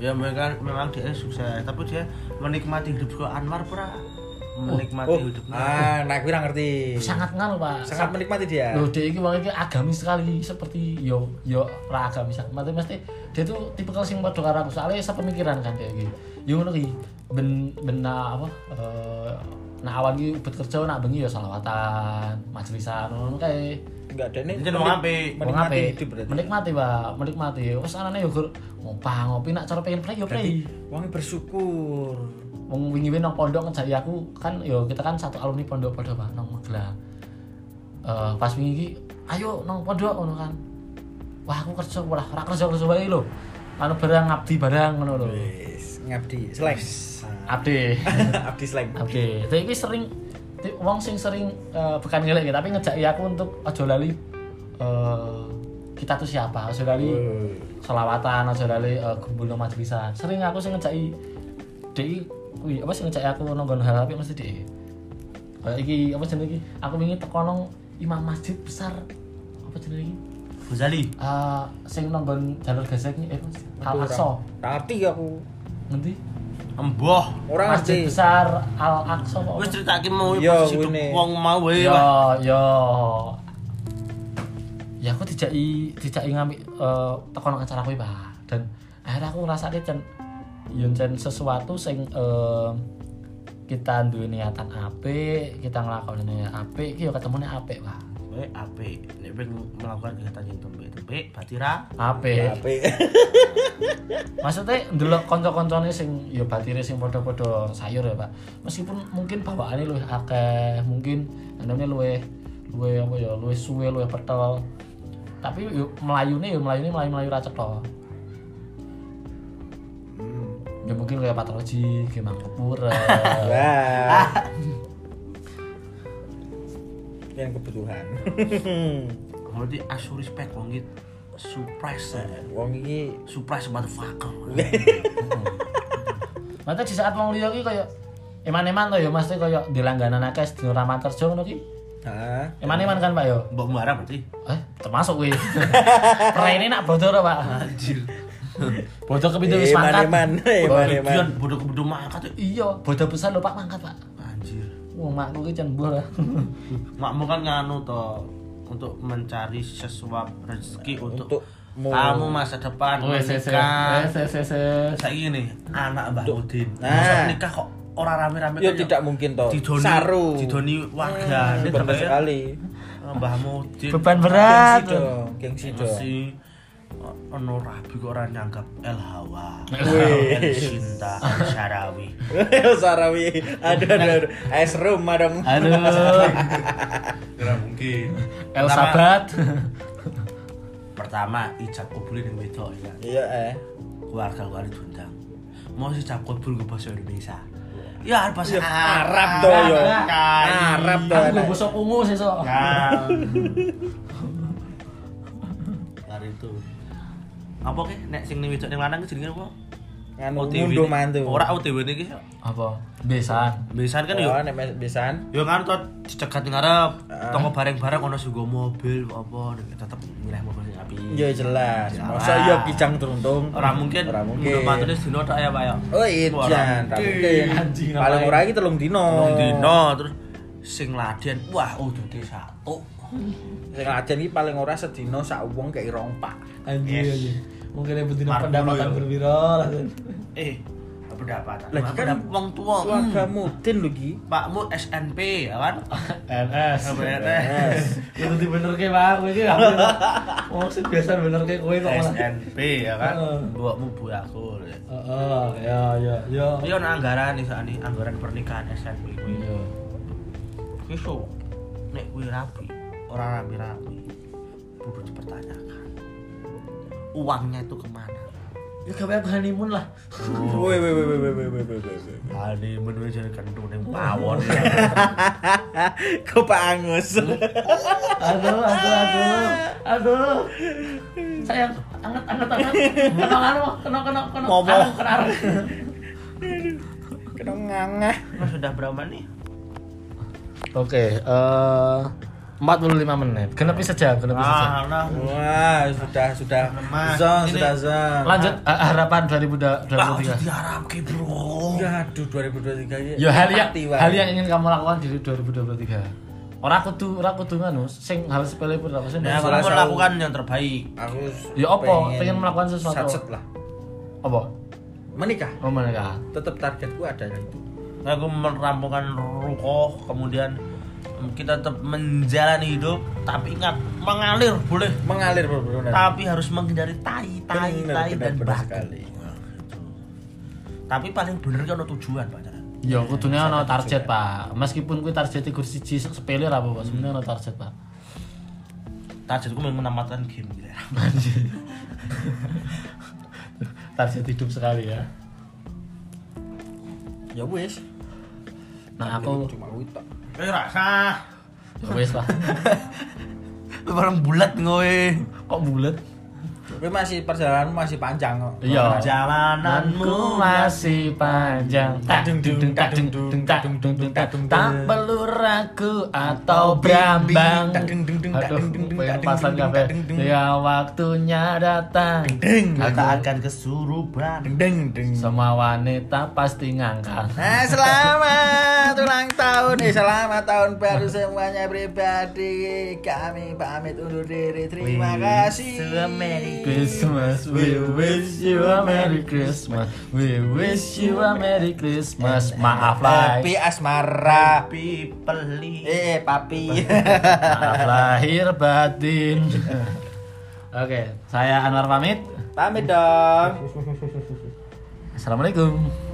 Speaker 2: ya mereka memang dia sukses tapi dia menikmati hidup sekolah Anwar pura menikmati
Speaker 3: Oh,
Speaker 2: hidupnya
Speaker 3: ah, nah, gue nggak ngerti.
Speaker 1: sangat nganu, Pak.
Speaker 3: sangat menikmati dia.
Speaker 1: Loh, dia iki wong iki agamis sekali seperti yo yo ra agamis. Mate mesti dia tuh tipe sing padha karo aku. Soale sepemikiran kan dia iki. Yo ngono ki ben ben na- apa eh nah awan ki ubet kerja nak bengi yo selawatan, majelisan ngono kae.
Speaker 3: Enggak ada nih.
Speaker 2: Jadi mau ngapain?
Speaker 3: menik-
Speaker 2: Mau
Speaker 3: Menikmati
Speaker 1: Wong ape?
Speaker 3: hidup berarti.
Speaker 1: Menikmati, Pak. Menikmati. Wis anane yo gur ngopah ngopi nak cara pengen play yo
Speaker 3: Berarti
Speaker 1: play.
Speaker 3: wong bersyukur.
Speaker 1: Wong wingi wingi nang pondok ngejari aku kan yo kita kan satu alumni pondok pondok Pak nang Magelang. Eh pas wingi iki ayo nang pondok ngono kan. Wah aku kerja ora ora kerja kerja wae lho. Anu barang ngabdi barang ngono lho.
Speaker 3: Wis, ngabdi slang.
Speaker 1: Abdi.
Speaker 3: Abdi slang.
Speaker 1: Abdi. Tapi iki sering ti- wong sing sering eh, bukan ngelek ya, tapi ngejak aku untuk aja lali eh, kita tuh siapa? Aja lali
Speaker 3: Hmm.
Speaker 1: selawatan aja lali uh, kumpul nang majelisan. Sering aku sing ngejaki DI kuwi apa sing ngejaki aku nang nggon hal tapi mesti DI. Kayak iki apa jenenge iki? Aku wingi teko nang imam masjid besar apa jenenge iki?
Speaker 2: Ghazali
Speaker 1: Eh sing nang nggon jalur Gaza iki eh Mas. Al
Speaker 3: Aduh,
Speaker 1: Aqsa.
Speaker 3: orang- Ngerti aku.
Speaker 1: Ngendi?
Speaker 2: emboh
Speaker 3: Orang
Speaker 1: Masjid
Speaker 3: ngerti.
Speaker 1: besar Al Aqsa apa?
Speaker 2: wis ceritake mau
Speaker 3: Iya,
Speaker 2: posisi hidup
Speaker 3: ngene.
Speaker 2: wong mau wae
Speaker 1: Yo
Speaker 2: wah.
Speaker 1: yo. Ya aku tidak i tidak i ngambil eh, tekan acara kuwi, Pak. Dan akhirnya aku ngrasakne cen yen cen ya, sesuatu sing eh, kita duwe niatan apik, kita nglakoni niat apik, iki yo ketemune apik, Pak.
Speaker 2: Wae apik nek pengen melakukan kegiatan yang tempe tempe batira
Speaker 1: Apik.
Speaker 3: Apa?
Speaker 1: Maksudnya ndelok kanca-kancane sing ya batire sing padha-padha sayur ya, Pak. Meskipun mungkin bawaane luwih akeh, mungkin anane luwih luwih apa ya, luwih suwe, luwih petel. Tapi yo melayune yo melayune melayu-melayu ra cetha. Ya mungkin kayak patologi, kayak mangkepura.
Speaker 3: Wah. Yang kebutuhan.
Speaker 2: berarti asu respect wong iki surprise eh.
Speaker 3: Wong iki
Speaker 2: surprise motherfucker
Speaker 1: Mate di saat wong liya ki kaya eman-eman to ya, Mas, kaya dilangganan akeh sedina ora kerja ngono ki.
Speaker 3: Hah?
Speaker 1: Eman-eman kan, Pak yo.
Speaker 2: mbok marah berarti
Speaker 1: Eh, termasuk kuwi. Praene nak bodor Pak.
Speaker 2: anjir
Speaker 1: Bodoh kepitu wis mangkat.
Speaker 3: Eman-eman, eman-eman.
Speaker 2: Kian bodoh-bodoh mangkat eh.
Speaker 1: Iya, bodoh besar lho Pak mangkat Pak.
Speaker 2: anjir
Speaker 1: Wong makku ki cembur.
Speaker 2: makmu kan nganu toh untuk mencari sesuap rezeki untuk,
Speaker 3: Untuk mu-
Speaker 2: kamu masa depan
Speaker 1: Wes wes
Speaker 2: menikah
Speaker 1: wes wes wes.
Speaker 2: saya ini anak Mbak Udin
Speaker 3: Nah.
Speaker 2: masa nikah kok orang rame-rame
Speaker 3: Ya
Speaker 2: kan
Speaker 3: tidak mungkin toh.
Speaker 2: didoni,
Speaker 3: Saru.
Speaker 2: didoni warga
Speaker 3: Hmm,
Speaker 2: ini
Speaker 3: bener
Speaker 2: tambah ya,
Speaker 3: sekali.
Speaker 2: Mbah Udin
Speaker 1: Beban
Speaker 3: Gengsi
Speaker 1: berat.
Speaker 3: dong, gengsi dong.
Speaker 2: masih ono rabi kok orang nyanggap El Hawa
Speaker 3: Wih.
Speaker 2: El Cinta El Syarawi
Speaker 3: Sarawi, aduh aduh, aduh. es room madam.
Speaker 1: Aduh,
Speaker 2: kira mungkin
Speaker 1: El Sabat.
Speaker 2: pertama ijab kubulin yang wedok ya
Speaker 3: Iya eh.
Speaker 2: keluarga keluarga diundang mau sih cap kobul gue bahasa Indonesia ya Ah, harus bahasa
Speaker 3: Arab toh yo.
Speaker 2: Ah,
Speaker 3: Arab toh.
Speaker 1: Aku
Speaker 3: enak.
Speaker 1: bosok ungu sesuk.
Speaker 2: kan hari itu apa ke nek sing nih ning lanang jenenge apa
Speaker 3: Nganu
Speaker 2: OTW Oh,
Speaker 3: mundu
Speaker 2: ini.
Speaker 3: mantu.
Speaker 2: ora OTW niki
Speaker 1: Apa? Besan.
Speaker 2: biasanya kan yo
Speaker 3: Oh, nek mes- besan.
Speaker 2: yo kan tuh dicegat ning Arab
Speaker 3: Ah.
Speaker 2: toko bareng-bareng ono sego mobil apa nek tetep milih mobil sing apik
Speaker 3: Ya jelas.
Speaker 2: Jelas.
Speaker 3: Masa ya kijang teruntung.
Speaker 2: ora mungkin
Speaker 3: Ora mungkin.
Speaker 2: menurut matulis dino tok ya Pak ya
Speaker 3: Oh iya,
Speaker 2: Ora
Speaker 3: jan, ra mungkin.
Speaker 1: Anjing,
Speaker 3: Paling
Speaker 1: ngapain?
Speaker 3: ora iki telung dino.
Speaker 1: Oh,
Speaker 2: Rong
Speaker 1: iya.
Speaker 2: dino terus sing laden wah udute satu
Speaker 3: Sing lajen iki paling ora sedino sak wong kek rong pak.
Speaker 1: Anjir anjir. Mungkin ibu dina
Speaker 2: Mark
Speaker 1: pendapatan
Speaker 2: dulu, yo.
Speaker 1: berbiro lah.
Speaker 2: eh pendapatan
Speaker 3: Lah,
Speaker 2: Wah,
Speaker 3: kan
Speaker 2: pendap- wong tua hmm.
Speaker 3: Keluarga mudin lho iki.
Speaker 2: Pakmu SNP ya kan?
Speaker 1: NS.
Speaker 2: SNP.
Speaker 1: Itu di bener ke Pak, kowe iki hampir. Wong sing biasa bener ke kowe Iya, kok malah.
Speaker 2: SNP ya kan?
Speaker 1: Heeh.
Speaker 2: Mbokmu bu aku.
Speaker 1: Heeh, ya ya ya.
Speaker 2: Tapi ono anggaran nih saat ini anggaran pernikahan SNP kuwi.
Speaker 1: Iya.
Speaker 2: Besok nek kuwi rapi, orang rapi-rapi. Perlu dipertanyakan. Uangnya itu kemana? Ya gawe aku honeymoon lah.
Speaker 3: Woi woi woi woi woi woi woi woi.
Speaker 2: Honeymoon wis jare kentu ning pawon.
Speaker 3: Kok Pak Angus.
Speaker 1: aduh aduh aduh aduh sayang anget anget anget kena anu kena kena kena
Speaker 3: Momo.
Speaker 1: anu, kena areng.
Speaker 3: Kena ngangah.
Speaker 2: Mas sudah berapa nih?
Speaker 1: Oke, eh 45 menit. Genepi saja, genepi saja.
Speaker 2: Ah, nah.
Speaker 3: Wah, sudah sudah
Speaker 2: Lemas.
Speaker 3: zon,
Speaker 2: Ini-
Speaker 3: sudah
Speaker 2: Ah.
Speaker 3: zon.
Speaker 1: Lanjut eh, harapan
Speaker 2: Lah, ojo
Speaker 1: 2023.
Speaker 2: diharapke, Bro.
Speaker 3: Ya aduh 2023
Speaker 1: Ya hal yang
Speaker 3: mati, Wak.
Speaker 1: hal yang ingin kamu lakukan di 2023. Ora kudu ora kudu nganu, sing hal sepele pun ora sing.
Speaker 2: Nah, aku
Speaker 3: Salah satu.
Speaker 2: melakukan yang terbaik.
Speaker 3: aku
Speaker 1: Ya apa? Pengen melakukan sesuatu.
Speaker 3: Satset lah.
Speaker 1: Apa?
Speaker 3: Menikah.
Speaker 1: Oh my god.
Speaker 3: Tetap targetku adalah itu.
Speaker 2: Nah, aku merampungkan rukoh kemudian mm, kita tetap menjalani hidup tapi ingat mengalir boleh
Speaker 3: Mengalir benar
Speaker 2: tapi harus menghindari tai tai tai dan batu
Speaker 3: sekali.
Speaker 2: tapi paling bener kan ono tujuan pak Cara.
Speaker 1: Ya kudune ana target, Pak. Meskipun kuwi target iku siji sepele ora
Speaker 2: Hmm.
Speaker 1: apa-apa, sebenarnya ana target, Pak.
Speaker 2: targetku memang menamatkan game gitu ya.
Speaker 1: Target hidup sekali ya.
Speaker 3: Ya wis.
Speaker 1: Nah, aku
Speaker 3: cuma wita.
Speaker 2: eh rasa
Speaker 1: ya wis lah.
Speaker 2: barang bulat ngowe
Speaker 1: Kok bulat?
Speaker 3: Tapi masih perjalananmu masih panjang kok.
Speaker 1: Iya.
Speaker 2: jalananmu
Speaker 1: Jalananku masih panjang tak dung dung tak dung dung tak dung dung tak dung tak perlu ragu
Speaker 3: Oh,
Speaker 1: atau berambang
Speaker 3: Tak dung dung dung, tak
Speaker 1: aduh
Speaker 3: dung dung dung,
Speaker 1: pengen
Speaker 3: tak
Speaker 1: pasang
Speaker 3: dung dung,
Speaker 1: kafe
Speaker 3: tak dung dung.
Speaker 1: ya waktunya datang
Speaker 3: Deng
Speaker 2: kita akan kesurupan
Speaker 3: deng deng deng.
Speaker 1: semua wanita pasti ngangkang
Speaker 3: Nah, Eh, selamat ulang tahun nih, selamat tahun baru semuanya pribadi. Kami pamit undur diri. Terima kasih.
Speaker 1: Christmas, we wish you a Merry Christmas. We wish you a Merry Christmas. Maaf
Speaker 3: Papi
Speaker 1: lahir,
Speaker 3: asmara.
Speaker 2: tapi peli
Speaker 3: Eh, papi.
Speaker 1: maaf lahir batin. Oke, saya Anwar pamit.
Speaker 3: pamit dong.
Speaker 1: Assalamualaikum.